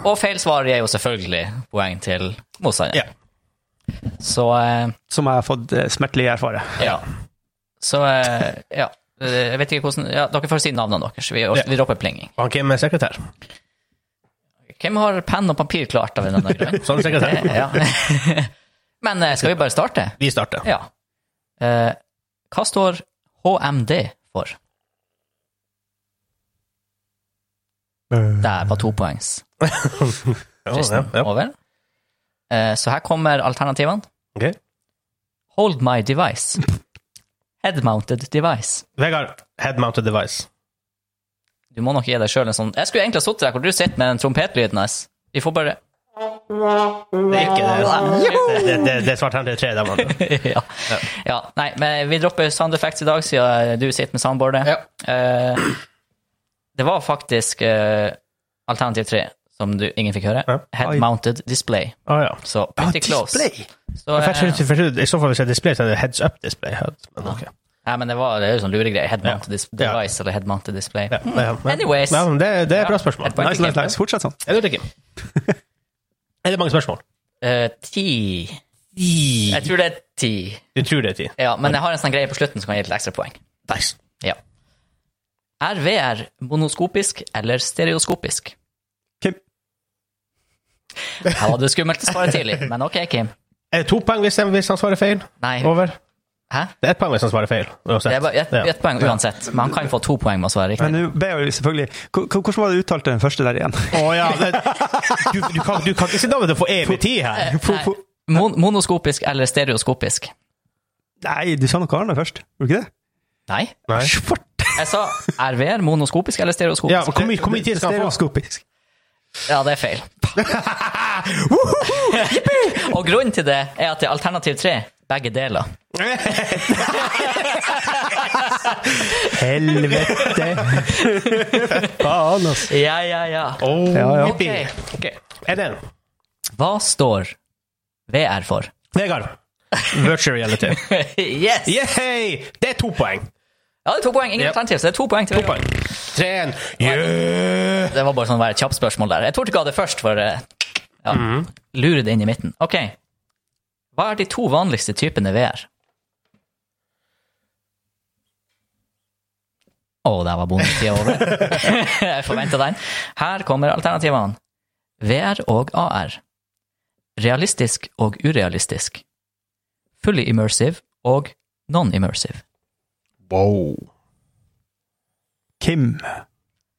S2: Og feil svar gir jo selvfølgelig poeng til motstanderen.
S1: Ja.
S2: Så eh,
S3: Som jeg har fått eh, smertelig erfare.
S2: Ja. Så eh, ja. Eh, Jeg vet ikke hvordan ja, Dere får si navnene deres. Vi,
S1: Ja.
S2: vi dropper plinging.
S1: Og han Kim er sekretær.
S2: Hvem har penn og papir klart av en eller annen grunn?
S1: Sånn sikkert det.
S2: ja. Men eh, skal vi bare starte?
S1: Vi starter.
S2: Ja. Eh, hva står HMD for? Der var to poengs.
S1: Ja, ja,
S2: Kristen,
S1: ja.
S2: over. Eh, så her kommer alternativene.
S1: Ok.
S2: Hold my device. Head-mounted device.
S1: Vegard, head-mounted device.
S2: Du må nok gi deg sjøl en sånn Jeg skulle egentlig ha sittet der hvor du sitter med den trompetlyden. ass. Vi får bare
S1: Det er ikke det. Det, det, det, det er svart hender tre, der, mann.
S2: ja. ja. Nei, men vi dropper sound effects i dag, siden du sitter med soundboardet. Eh, det var faktisk eh, alternativ tre, som du, ingen fikk høre.
S1: Ja.
S2: Head mounted display.
S1: Ah, ja.
S2: Så
S3: Ah,
S2: pretty close.
S3: display!
S2: Så, eh,
S1: Jeg tror ikke- jeg tror- I så fall hvis jeg display, så er det heads up display. Men ok.
S2: nei, men det, var, det er jo sånn luregreier. Head mounted dis
S1: Ja.
S2: device eller head mounted display.
S1: Ja, ja, ja.
S2: Anyways.
S1: Ja, men det, det er et bra spørsmål.
S2: Et poeng.
S3: Nice, nice, nice. Fortsett sånn.
S1: Er det det, Kim? Er det mange spørsmål?
S2: Eh, ti Jeg tror det er ti.
S1: Du tror det er ti?
S2: Ja, men jeg har en sånn greie på slutten som kan gi litt ekstra poeng.
S1: Nice.
S2: Ja. Er VR monoskopisk eller stereoskopisk?
S3: Kim.
S2: Her var det skummelt å svare tidlig, men ok, Kim.
S1: Er det to poeng hvis, han- hvis han svarer feil?
S2: Nei.
S1: Over?
S2: Hæ?
S1: Det er ett poeng hvis han svarer feil. uansett.
S2: Det er bare ett
S1: Ja.
S2: ett poeng uansett, men han kan få to poeng med å svare riktig.
S3: Men nå ber jeg jo selvfølgelig H- h- Hvordan var det uttalt den første der igjen?
S1: Å ja, det, du, du, kan, du kan ikke sitte over det for evig tid her.
S3: For, for,
S2: Mon monoskopisk eller stereoskopisk?
S3: nei, du sa noe annet først, gjorde du ikke det?
S2: Nei.
S1: Nei.
S3: Svart!
S2: Jeg sa er VR monoskopisk eller
S1: Ja,
S2: stereoskopisk?
S1: hvor mye hvor mye tid skal han få?
S3: Stereoskopisk.
S2: Ja, det er feil. Og grunnen til det er at det er alternativ tre. Begge deler.
S3: Helvete! Faen, altså.
S2: Ja, ja, ja.
S1: Oh,
S3: Ja, ja.
S2: Ok.
S1: Er det en?
S2: Hva står VR for?
S1: Vegard. Virtual reality.
S2: yes!
S1: Yay! Det er to poeng.
S2: Ja, det er to poeng. Ingen
S1: Ja.
S2: alternativ, så det er to poeng til
S1: To
S2: Vegard.
S1: poeng. Tre, en. Yeah!
S2: Det var bare sånn å være et kjapt spørsmål der. Jeg torde ikke ha det først, for eh, ja, lure det inn i midten. Ok. Hva er de to vanligste typene VR? Å, der var bondetida over. Jeg forventa den. Her kommer alternativene. VR og AR. Realistisk og urealistisk. Fully immersive og non-immersive.
S1: Wow.
S3: Kim.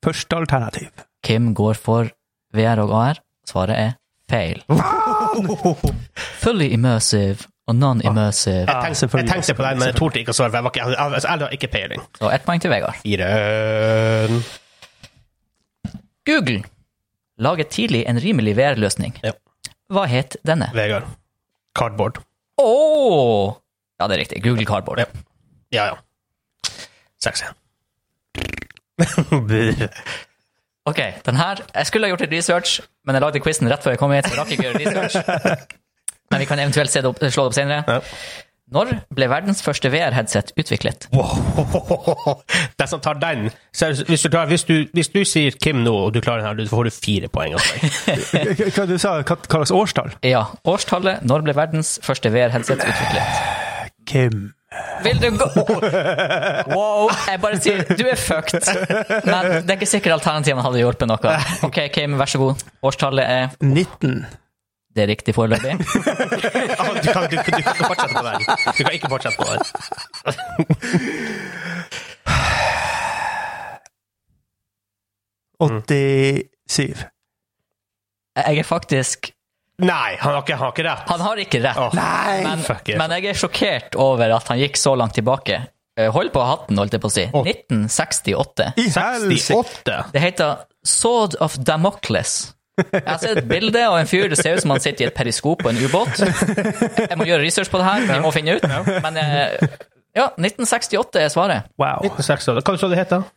S3: Første alternativ.
S2: Kim går for VR og AR. Svaret er feil. Fully immersive og non-immersive.
S1: Jeg tenkte, jeg
S3: selvfølgelig.
S1: tenkte på den, men jeg torde ikke å svare, for jeg var ikke, jeg, jeg, jeg hadde ikke peiling.
S2: Så ett poeng til Vegard.
S1: Iren.
S2: Google laget tidlig en rimelig VR-løsning.
S1: Ja.
S2: Hva het denne?
S1: Vegard. Cardboard.
S2: Å! Ja, det er riktig. Google Cardboard.
S1: Ja. Ja, ja. Seks igjen.
S2: Ok, den her Jeg skulle ha gjort litt research, men jeg lagde quizen rett før jeg kom hit, så jeg rakk ikke å gjøre research. Men vi kan eventuelt se det opp, slå det opp senere.
S1: Ja.
S2: Når ble verdens første VR-headset utviklet?
S1: Wow. Den som tar den seriøst, hvis, du tar, hvis, du, hvis du sier Kim nå, og du klarer den her, så får du fire poeng. av meg.
S3: Hva- Hva du sa hva, hva slags årstall?
S2: Ja, årstallet når ble verdens første VR-headset utviklet?
S3: Kim.
S2: Vil du gå Wow, jeg bare sier du er fucked. Men det er ikke sikkert alternativene hadde hjulpet noe. Ok, Kim, vær så god. Årstallet er
S3: 19.
S2: det er riktig foreløpig.
S1: Ah, Du kan, du, du kan ikke fortsette på den. Du kan ikke fortsette på den.
S3: Mm. 87.
S2: Jeg er faktisk
S1: Nei, han har ikke, han har ikke rett.
S2: Han har ikke rett,
S1: Åh,
S3: Nei!
S2: men,
S1: fuck it.
S2: men jeg er sjokkert over at han gikk så langt tilbake. Eh, Hold på hatten, holdt jeg på å si. 1968.
S3: I helsike!
S1: 68.
S2: Det heter Sword of Damocles. Jeg har sett et bilde av en fyr det ser ut som han sitter i et periskop på en ubåt. Jeg må gjøre research på det her, vi må finne ut. Men eh, ja, 1968 er svaret.
S3: Wow.
S1: 68. Hva sa du det heter?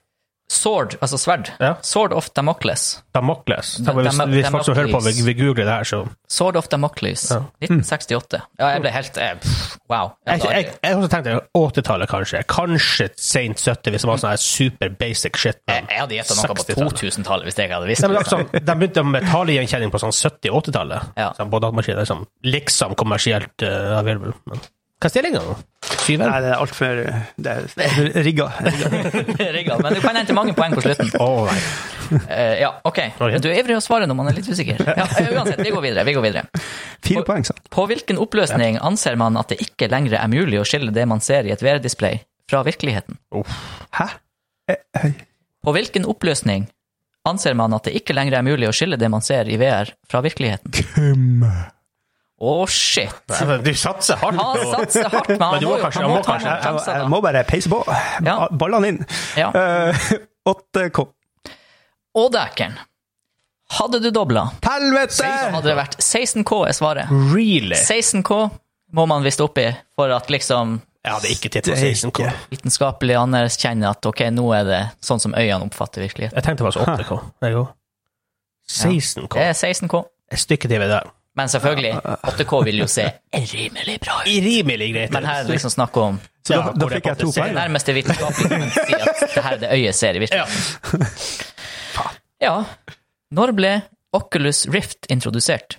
S2: Sword, altså sverd.
S1: Ja.
S2: Sword of Damocles.
S1: Damokles. Tenk på Hvis,
S2: Dam-
S1: hvis folk som hører på,
S2: Damokles.
S1: vil, vil google det her, så
S2: Sword of Damocles. 1968. Ja, jeg ble helt eh, pff, Wow. Altså, Ja,
S1: Jeg,
S2: da-
S1: jeg, jeg også tenkte 80-tallet, kanskje. Kanskje sent 70, hvis det var sånn her super basic shit.
S2: jeg, jeg hadde gjetta noe på
S1: 60-tallet.
S2: 2000-tallet hvis jeg ikke hadde visst
S1: Nei, men det er
S2: det.
S1: sånn, de begynte med tallgjenkjenning på sånn 70-80-tallet.
S2: Ja.
S1: Sånn, på datamaskiner som liksom kommersielt uh, available. Men, hva er stillinga nå?
S3: Nei,
S1: Syver?
S3: det er altfor Det er rigga.
S2: Rigga, Men du kan hente mange poeng på slutten.
S1: Å, nei.
S2: Eh, ja, ok.
S1: Oi.
S2: Du er ivrig å svare når man er litt usikker. Ja, eh, uansett, vi går videre. Vi går videre.
S3: Fire poeng, sa han.
S2: På hvilken oppløsning anser man at det ikke lenger er mulig å skille det man ser i et VR-display, fra virkeligheten?
S3: Hæ? Eh, eh,
S2: På hvilken oppløsning anser man at det ikke lenger er mulig å skille det man ser i VR, fra virkeligheten?
S3: Hm.
S2: Å, shit!
S1: Du satser hardt.
S2: Han
S1: på-
S2: satser hardt, men han
S1: du må
S2: må, jo-
S1: kanskje-
S2: han må
S1: han må
S2: ta
S1: kanskje-
S2: noen
S1: jeg-
S2: sjanser.
S3: Jeg
S2: da.
S3: må bare peise på.
S2: Ja.
S3: Ballene inn.
S2: Ja.
S3: Eh, 8K.
S2: Og dækeren. Hadde du dobla, så
S3: Helvete!
S2: hadde det vært 16K er svaret.
S1: Really?
S2: 16K må man visst oppi for at liksom
S1: Jeg hadde ikke tippa
S3: Steike.
S1: 16K.
S2: vitenskapelig anerkjenne at ok, nå er det sånn som øynene oppfatter virkeligheten.
S1: Jeg tenkte faktisk 8K. Jeg òg. 16K.
S2: Det er 16K.
S1: Et stykke til ved der.
S2: Men selvfølgelig, 8K vil jo se rimelig bra ut.
S1: Rimelig greit.
S2: Men her er det liksom snakk om
S3: Så
S1: Ja,
S3: da, da
S1: hvor det
S3: fikk jeg to
S1: faktisk er
S3: poeng.
S2: det nærmeste vitenskapelige kan man si at det her er det øyet ser i virkeligheten. Ja. Når ble Oculus Rift introdusert?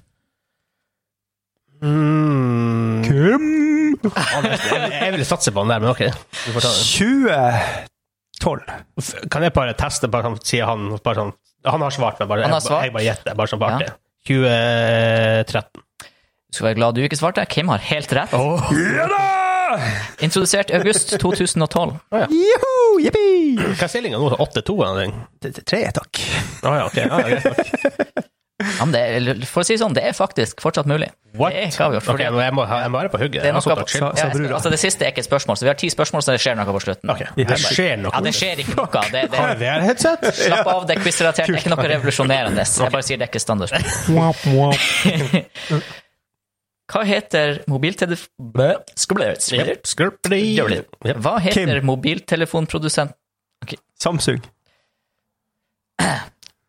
S1: Mm,
S3: Kim
S1: jeg, jeg ville satse på den der, men ok. Du får ta den.
S3: 2012.
S1: Kan jeg bare teste, bare sånn, sier han bare sånn, Han har svart, men bare,
S2: Han har
S1: jeg-
S2: svart?
S1: jeg bare gjetter. Bare sånn på
S2: Ja.
S1: artig. 2013.
S2: Du skal være glad du ikke svarte. Kim har helt rett.
S3: Ja da!
S2: Introdusert august 2012.
S3: Juhu! Jippi!
S1: Hva er stillinga nå? 8-2 eller noe?
S3: Tre, takk.
S1: Å ja, ok. Ja, ja, greit nok.
S2: Ja, men det er, for å si det sånn, det er faktisk fortsatt mulig.
S1: What?
S2: Det er ikke avgjort.
S1: Ok,
S2: Fordi at
S1: nå, jeg, må, ha- jeg må være på hugget.
S2: det, er
S1: Jeg har
S2: noe,
S1: sittet og
S3: Sa-
S1: chillet.
S3: sa
S2: ja,
S3: brura.
S2: altså, det siste er ikke et spørsmål, så vi har ti spørmål, så det skjer noe på slutten.
S1: Ok, Det skjer
S2: Ja,
S1: noe.
S2: det skjer ikke noe. Det, det,
S1: Har vi et headset?
S2: slapp av, det er quiz-relatert. Det er ikke noe revolusjonerende. Jeg bare sier det er ikke standard. Hva heter mobiltelef... Bæ. Skubler. Skubler.
S1: Jep, skrøperi.
S2: Skubler.
S1: Jep.
S2: Hva heter
S3: Kim.
S2: mobiltelefonprodusent
S3: Samsung.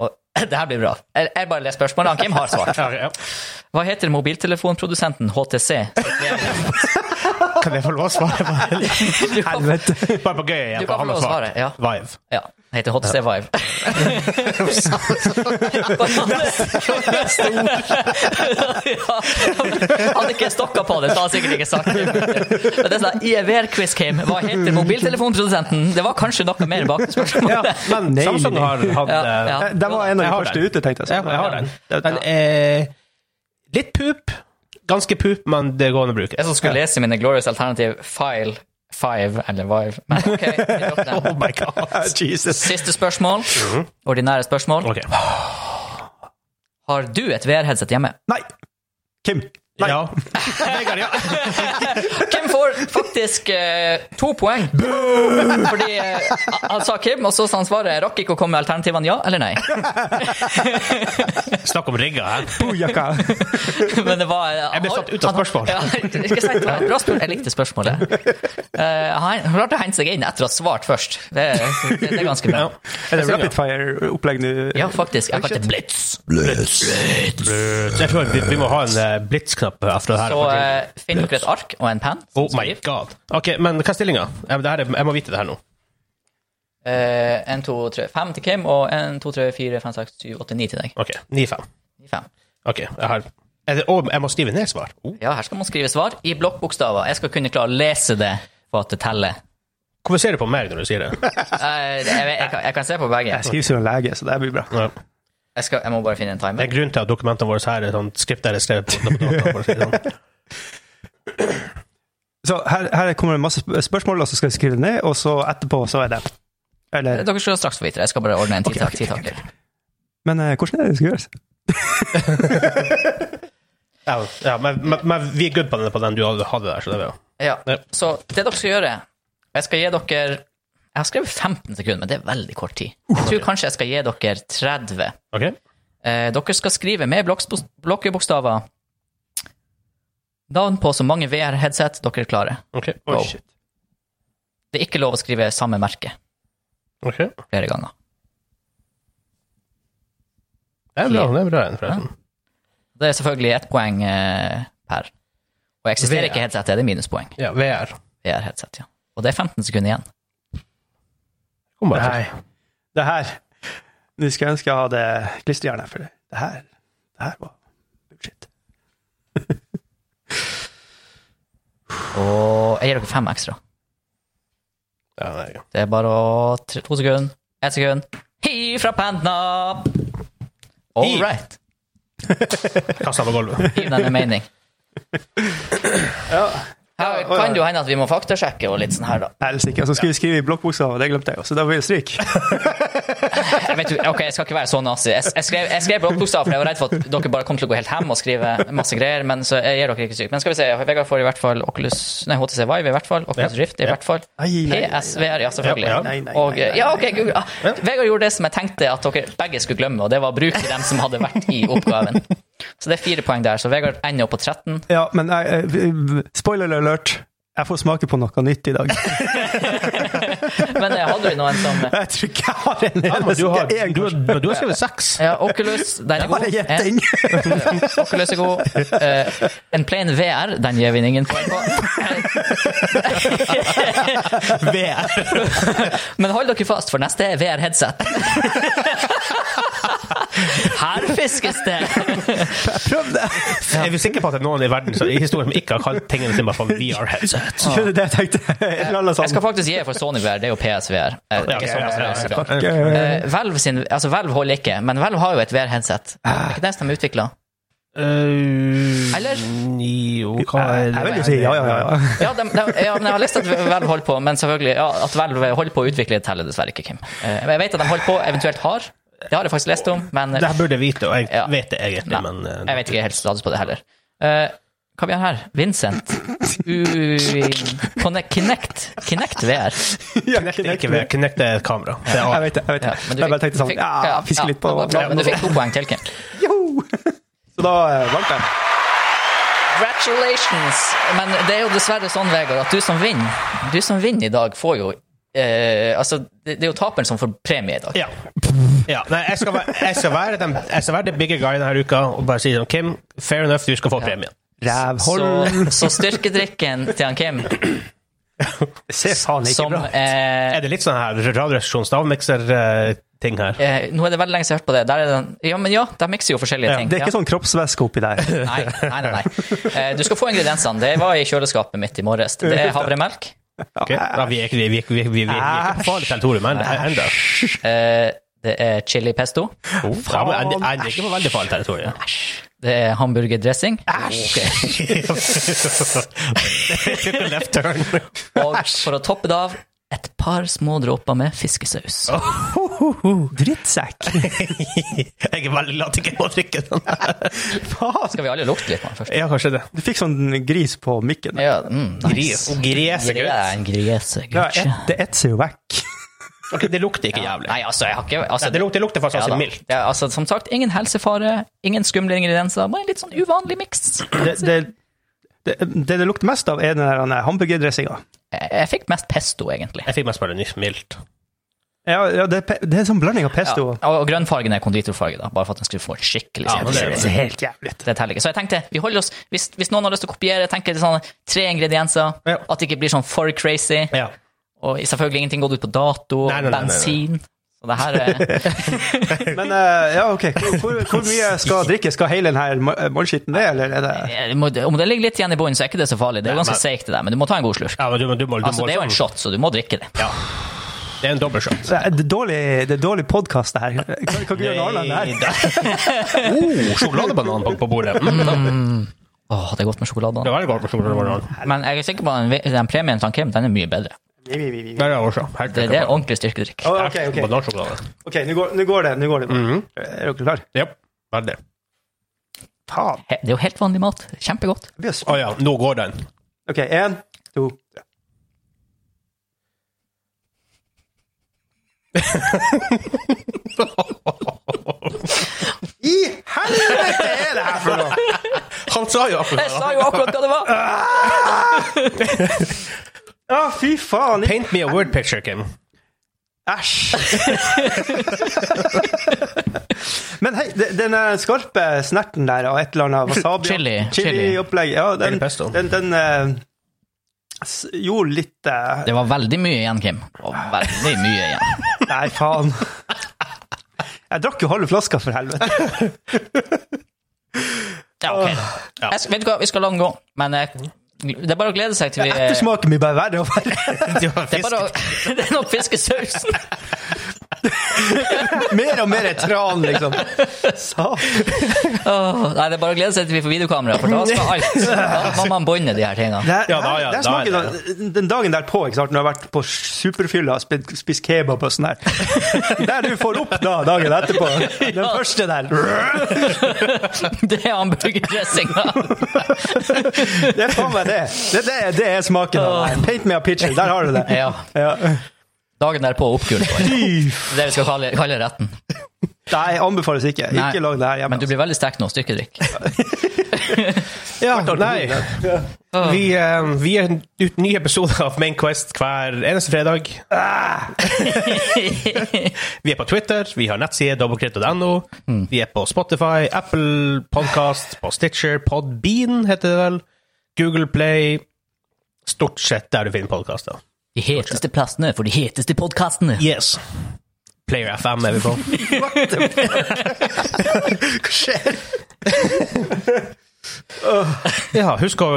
S2: Å, Det her blir bra. Jeg jeg bare leser spørsmålene. Kim har svart.
S1: Ja, ja.
S2: Hva heter mobiltelefonprodusenten HTC?
S1: Kan jeg få lov å svare? på det?
S2: Du kan,
S3: Helvete.
S1: Bare på gøy igjen.
S2: du kan
S1: han
S2: få
S1: har
S2: lov å svare.
S1: svart.
S2: Ja.
S1: Vive.
S2: Ja, det heter HTC Vive. Ja, Hadde ikke stokka på det, så hadde jeg sikkert ikke sagt det. Men det er sånn IEVR-quiz Kim. Hva heter mobiltelefonprodusenten? Det var kanskje noe mer bak spørsmålet.
S1: Men
S3: Nei,
S1: Samsung
S3: nei.
S1: har hatt
S2: Ja,
S1: eh,
S2: ja.
S3: Eh, Den var en
S1: Jeg
S3: av de
S1: har
S3: første
S1: den.
S3: ute, tenkte
S1: Jeg, jeg
S3: jeg.
S1: har den. Den er litt pup. Ganske pup, men det går an å bruke.
S2: Jeg som skulle lese mine Glorious Alternative File Five eller Vive. Men ok, vi dropper den.
S1: Oh my god. Mhm.
S3: Eh, Jesus.
S2: Siste spørsmål. Ordinære spørsmål.
S1: Ok.
S2: Har du et VR-headset hjemme?
S3: Nei. Kim. Nei.
S1: Ja. Vegard, ja.
S2: Kim får faktisk eh, to poeng. Fordi eh, han sa Kim, og så sa han svaret. Rakk ikke å komme med alternativene ja eller nei.
S1: Snakk om rigger her.
S3: Bojakka.
S2: Men det var eh,
S1: Jeg ble
S2: han-
S1: satt ut av
S2: han-
S1: spørsmål.
S2: Ja, ikke sant, det var et bra spørsmål. Jeg likte spørsmålet. Eh, han han klarte å hente seg inn etter å ha svart først. Det, det, det er ganske bra.
S1: Ja.
S3: Er det rapid fire-opplegg nå?
S2: Ja, faktisk. Jeg kalte det blitz.
S1: Jeg tror vi, vi må ha en eh, blitz-knapp etter det her.
S2: Så eh, finn dere et ark og en penn.
S1: oh my god. Ok, men hva er stillinga? Jeg må vite det her nå.
S2: Eh, En, to, tre, fem til Kim, og en, to, tre, fire, fem, seks, syv, åtte, ni til deg.
S1: Ok, 9-5.
S2: Fem.
S1: Ok, jeg har er det, Og jeg må skrive ned svar. Oh.
S2: Ja, her skal man skrive svar i blokkbokstaver. Jeg skal kunne klare å lese det for at det teller.
S1: Hvorfor ser du på meg når du sier det?
S2: Eh, jeg, jeg, jeg, kan, jeg kan se på begge.
S3: Jeg skriver som en lege, så det blir bra.
S1: Ja.
S2: Jeg, skal, jeg må bare finne en
S1: Det
S2: timer.
S1: er grunn til at dokumentene våre her er sånn skriptet er skrevet på. dokumentene våre, for å si det sånn.
S3: Så her, her kommer det masse sp- spørsmål, og så skal vi skrive det ned, og så etterpå så er det Eller
S2: Dere skal straks få vite det. Jeg skal bare ordne en
S3: Ok,
S2: titak.
S3: ok,
S2: titak.
S3: Men eh, hvordan er det det skal gjøres?
S1: Ja, ja men, men, men vi er good på den, på den du hadde hadde der, så det er bra.
S2: Ja.
S1: Ja.
S2: Så det dere skal gjøre Jeg skal gi dere Jeg har skrevet 15 sekunder, men det er veldig kort tid. Jeg tror kanskje jeg skal gi dere 30.
S1: Ok?
S2: Eh, dere skal skrive med blokksbos- blokkbokstaver navn på så mange VR-headset dere klarer.
S1: Ok.
S2: Go. Det er ikke lov å skrive samme merke
S1: Ok. Det
S2: flere ganger.
S1: er bra, det er bra en, forresten.
S2: Det er selvfølgelig ett poeng eh, per. Og eksisterer
S1: VR.
S2: ikke headsetet, det er minuspoeng.
S1: Ja, VR.
S2: VR-headset, ja. Og det er 15 sekunder igjen.
S1: Kom bare til.
S3: Nei. Det her Nå skulle jeg ønske jeg hadde klisterhjerne, for det det her Det her var bullshit.
S2: Og jeg gir dere fem ekstra.
S1: Ja, nei.
S2: Det er bare å tre, to sekunder, ett sekund Hi! Hei fra Pantna! All
S1: Hi.
S2: right.
S1: Kasta på gulvet.
S2: Gi den en mening.
S3: Ja.
S2: Her
S3: ja, ja.
S2: kan det jo hende at vi må faktasjekke og litt sånn her, da.
S3: Helsike. Og så skulle vi skrive i blokkbuksa, og det glemte jeg jo, så da blir det stryk.
S2: Jeg vet, jo- ok, jeg skal ikke være så nazi. Jeg, jeg skrev, jeg skrev på oppbokstav, for jeg var redd for at dere bare kom til å gå helt hem og skrive masse greier, men så jeg gir dere ikke sykt. Men skal vi se, Vegard får i hvert fall Oculus, nei, HTC Vive i hvert fall, Oculus
S1: Ja.
S2: Rift i
S1: Ja.
S2: hvert fall,
S3: Ai, nei, nei,
S2: PSVR, ja, selvfølgelig.
S1: Ja, ja.
S3: Nei, nei, nei,
S2: Og,
S3: nei.
S2: ja, ok, Google. Ah, Vegard gjorde det som jeg tenkte at dere begge skulle glemme, og det var å bruke dem som hadde vært i oppgaven. Så det er fire poeng der, så Vegard ender opp på 13.
S3: Ja, men jeg, eh, v- v- spoiler alert. Jeg får smake på noe nytt i dag.
S2: Men eh, hadde vi noen som
S3: Jeg tror ikke jeg har en
S1: Ja, men du har,
S3: eneste en,
S1: du,
S3: kanskje.
S1: har- du har skrevet seks.
S2: ja, Oculus, den er
S3: Jeg har
S2: god.
S3: en
S2: Eh,
S3: gjetting.
S2: Oculus er god. Eh, en plain VR, den gir vi ingen poeng på.
S1: VR.
S2: Men hold dere fast, for neste er VR-headset. Her fiskes det!
S3: Prøv det!
S1: Er vi sikre på at det er noen i verden som, i historien som ikke har kalt tingene sine bare for VR-headset?
S3: Skjønner du det jeg tenkte? Jeg la
S2: Jeg skal
S3: sånn.
S2: faktisk gi for Sony VR, det er jo PSVR. Eh,
S1: Ja, sånn,
S2: ikke
S1: ok,
S2: Sony
S1: ja, ja,
S2: VR,
S1: ja,
S2: så klart.
S3: Eh,
S2: Eh, Valve, sin, altså Valve holder ikke, men Valve har jo et VR-headset. Det er ikke det som er utvikla.
S1: Eh,
S2: Eller?
S1: Jo, hva er
S3: Jeg vil jo si ja, ja, ja. ja.
S2: Ja, de, de, ja, men jeg har lyst til at Valve holder på, men selvfølgelig ja, at Valve holder på å utvikle det teller dessverre ikke, Kim. Eh, Men jeg vet at de holder på, eventuelt har. Det har jeg faktisk lest om, men
S1: Det her burde jeg vite, og jeg
S2: Ja.
S1: vet det egentlig, men eh,
S2: Jeg vet ikke helt status på det heller. Eh, hva vi har her? Vincent. U Connect, Kinect. Kinect VR.
S1: Kinect er ikke VR, Kinect er et kamera. Det
S3: Jeg
S1: er,
S3: vet det. jeg vet det.
S2: Ja, men du
S3: Jeg bare
S2: fikk-
S3: tenkte sånn
S2: fikk-
S3: Ja, fiske litt på
S2: det var bra, Men du fikk to poeng til, Kim.
S3: Joho! Så da eh, vant jeg.
S2: Congratulations! Men det er jo dessverre sånn, Vegard, at du som vinner, du som vinner i dag, får jo eh, Altså, det, det er jo taperen som får premie i dag.
S1: ja. ja. Nei, jeg skal være, jeg skal være, den, jeg skal være the bigger guy denne uka og bare si sånn Kim, fair enough, du skal få premien.
S3: Rævhold.
S2: Så, så styrkedrikken til han Kim,
S3: Det ser faen ikke
S2: som
S3: bra ut.
S2: eh,
S1: Er det litt sånn her radioresepsjon, stavmikser-ting her?
S2: eh, Nå er det veldig lenge siden jeg har hørt på det. Der er den, ja, men ja, de mikser jo forskjellige
S1: Ja,
S2: ting.
S3: Det er
S2: Ja.
S3: ikke sånn kroppsvæske oppi der.
S2: Nei, nei, nei. nei. Eh, Du skal få ingrediensene. Det var i kjøleskapet mitt i morges. Det er havremelk.
S1: Ok? Da, vi er ikke vi, vi, vi, vi, vi, vi er ikke på farlig territorium ennå. ennå.
S2: eh, Det er chili pesto.
S1: Jo, da må Jeg jeg er ikke på veldig farlig territorium.
S2: Det er hamburgerdressing.
S1: Took a left turn.
S2: Og for å toppe det av, et par små dråper med fiskesaus.
S3: Drittsekk!
S1: Jeg er veldig glad at jeg ikke må drikke den.
S3: Faen!
S2: Skal vi alle lukte litt på den først?
S1: Ja, kanskje det.
S3: Du fikk sånn gris på mikken.
S2: Ja, mm,
S1: Gris.
S2: nice.
S1: Og gres,
S2: Gris
S1: gutt.
S2: er en
S3: Ja,
S2: grisegutt.
S3: et, det etser jo vekk.
S1: Ok, det lukter ikke jævlig.
S2: Nei, altså, jeg har ikke altså,
S1: Nei, det lukter, det lukter faktisk
S2: ja, da.
S1: ganske mildt.
S2: Ja, altså, som sagt, ingen helsefare, ingen skumle ingredienser, bare en litt sånn uvanlig miks.
S3: Det det, det, det det lukter mest av, er den der, eh, hamburgerdressinga.
S2: Jeg jeg fikk mest pesto, egentlig.
S1: Jeg fikk meg spørre nytt mildt.
S3: Ja, ja det, er pe- det er sånn blanding av
S2: Ja,
S3: pesto og
S2: og og grønnfargen er konditorfarge, da, bare for at den skulle få en skikkelig
S1: Ja, men det er
S3: Det
S1: jo-
S3: ser helt jævlig ut.
S2: Det teller ikke. Så jeg tenkte, vi holder oss, hvis, hvis noen har lyst til å kopiere, tenker jeg sånn tre ingredienser,
S1: Ja.
S2: at det ikke blir sånn for crazy,
S1: Ja.
S2: og selvfølgelig ingenting gått ut på dato,
S1: Nei, nei, nei, nei, nei.
S2: bensin. Så det her eh, er
S3: Men eh, ja, ok. Hvor, hvor, hvor mye skal drikke? Skal hele denne målskitten det, eller er det
S2: jeg må- Om det ligger litt igjen i bunnen, så er ikke det så farlig. Det er jo
S1: Nei,
S2: ganske seigt, det der, men du må ta en god slurk.
S1: ja, men du, må- du må, du
S2: Altså,
S1: må
S2: det er jo en shot, så du må drikke det.
S1: Ja. Det er en dobbeltshot.
S3: det er det dårlig, det er dårlig podkast, det her. Kan, kan ikke gjøre noe annet enn det her.
S1: oh, sjokoladebanan på, på bordet. Mm.
S2: Åh, det er godt med sjokolade.
S1: Det var veldig godt med sjokoladebanan.
S2: Men jeg er sikker på at den, den premien til han Kim, den er mye bedre.
S3: Vi, vi, vi, vi.
S1: Det er jeg også. Helt
S2: Det, det er ordentlig styrkedrikk.
S3: Å, Ok, ok.
S1: Banansjokolade.
S3: Ok, nå går, nå går det. Nå går det.
S2: Mm.
S3: Er dere klare?
S1: Ja, veldig.
S3: Faen.
S2: He- Det er jo helt vanlig mat. Kjempegodt.
S3: jeg blir så-
S1: Å ja, nå går den.
S3: Ok, én, to tre. I helvete er det her for noe?!
S1: Han sa jo akkurat
S2: Jeg sa jo akkurat hva det var!
S3: Å, fy faen!
S1: Paint me a word picture, Kim.
S3: Æsj! Men hei, de- den eh, skarpe snerten der av et eller annet wasabi
S2: Chili, chili.
S3: Chili-opplegg. Ja, den,
S1: Eller pesto.
S3: den, den eh, s- gjorde litt eh,
S2: Det var veldig mye igjen, Kim. Å, Veldig mye igjen.
S3: Nei, faen. Jeg drakk jo halve flaska, for helvete.
S2: Ja, ok. da. Jeg, vet du hva, vi skal la den gå. Men eh, det er bare å glede seg til vi eh,
S3: Ettersmaken blir bare verre og verre.
S1: Det var
S2: det er, bare å, det er nok fiskesausen.
S3: Mer og mer er tran, liksom. Sa.
S2: Åh, nei, det er bare å glede seg til vi får videokamera, for da skal alt Da må man bånde de her
S3: Det,
S2: tingene.
S3: her-
S1: Ja, da, ja,
S3: det her
S1: da
S3: smaker
S1: er
S3: da- den dagen derpå, ikke sant, når jeg har vært på superfylla og spist, spist kebab og sånn her. Der du får opp da, dagen etterpå. Den
S2: Ja.
S3: første der.
S2: Det er hamburgerdressinga.
S3: Det er faen meg det. Det, det, er- det er smaken av det. her. Paint me a picture. Der har du det.
S2: Ja.
S3: Ja.
S2: Dagen derpå oppkult. Det
S3: Fy
S2: er det vi skal kalle, kalle retten.
S3: Nei, anbefales ikke.
S2: Nei.
S3: Ikke lag det her hjemme.
S2: Men du blir veldig sterk nå, styrkedrikk.
S1: Ja, nei. Vi, eh, vi er ut nye episoder av Main Quest hver eneste fredag. Ah! Vi er på Twitter, vi har nettside dobbeltkritt.no. Vi er på Spotify, Apple Podcast, på Stitcher, Podbean heter det vel. Google Play. Stort sett der du finner podkaster.
S2: De heteste plassene for de heteste podkastene.
S1: Yes. Player FM er vi på.
S3: Hva skjer?
S1: Ja, husk å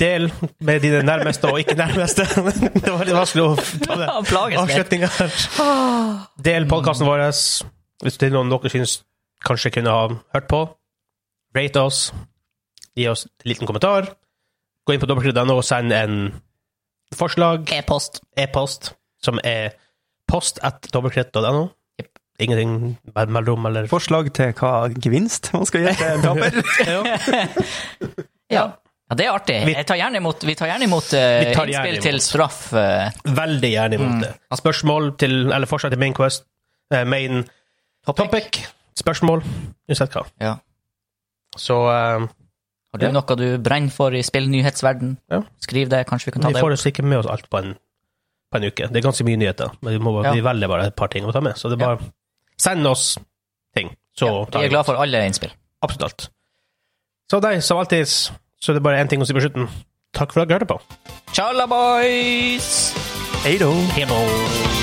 S1: dele med dine nærmeste og ikke nærmeste. Det var litt vanskelig å ta det.
S2: Ja, plages litt.
S1: Avslutninga her. Del podkasten vår hvis det er noen dere syns kanskje kunne ha hørt på. Rate oss. Gi oss en liten kommentar. Gå inn på dobbeltkrydd.no og send en forslag,
S2: E-post.
S1: e-post, som er post at dobbeltkrydd.no.
S2: Jep.
S1: Ingenting mell- mellom eller
S3: Forslag til hva gevinst man skal gi til en taper?
S2: Ja. ja, det er artig.
S1: Vi-
S2: Jeg tar gjerne imot, vi tar gjerne imot eh,
S1: Vi tar gjerne imot.
S2: innspill til straff. eh,
S1: Veldig gjerne
S2: Mm.
S1: imot det. Spørsmål til, eller forslag til main quest, eh, main
S2: topic.
S1: Topic. Spørsmål. Uansett hva.
S2: Ja.
S1: Så eh,
S2: Har du
S1: Ja.
S2: noe du brenner for i spillnyhetsverden?
S1: Ja.
S2: Skriv det, kanskje vi kan ta
S1: vi
S2: det
S1: får
S2: opp.
S1: jo sikkert med oss alt på en, på en uke. Det er ganske mye nyheter, men vi, må,
S2: Ja.
S1: vi velger bare et par ting å ta med. Så det er bare Send oss ting, så
S2: Ja,
S1: tar
S2: vi er
S1: vi
S2: glad for alle innspill.
S1: absolutt alt. Så deg, som alltid, så er det bare én ting å si på slutten. Takk for at du hørte på.
S2: Tjalla, boys!
S3: Hei da.
S1: Hei nå.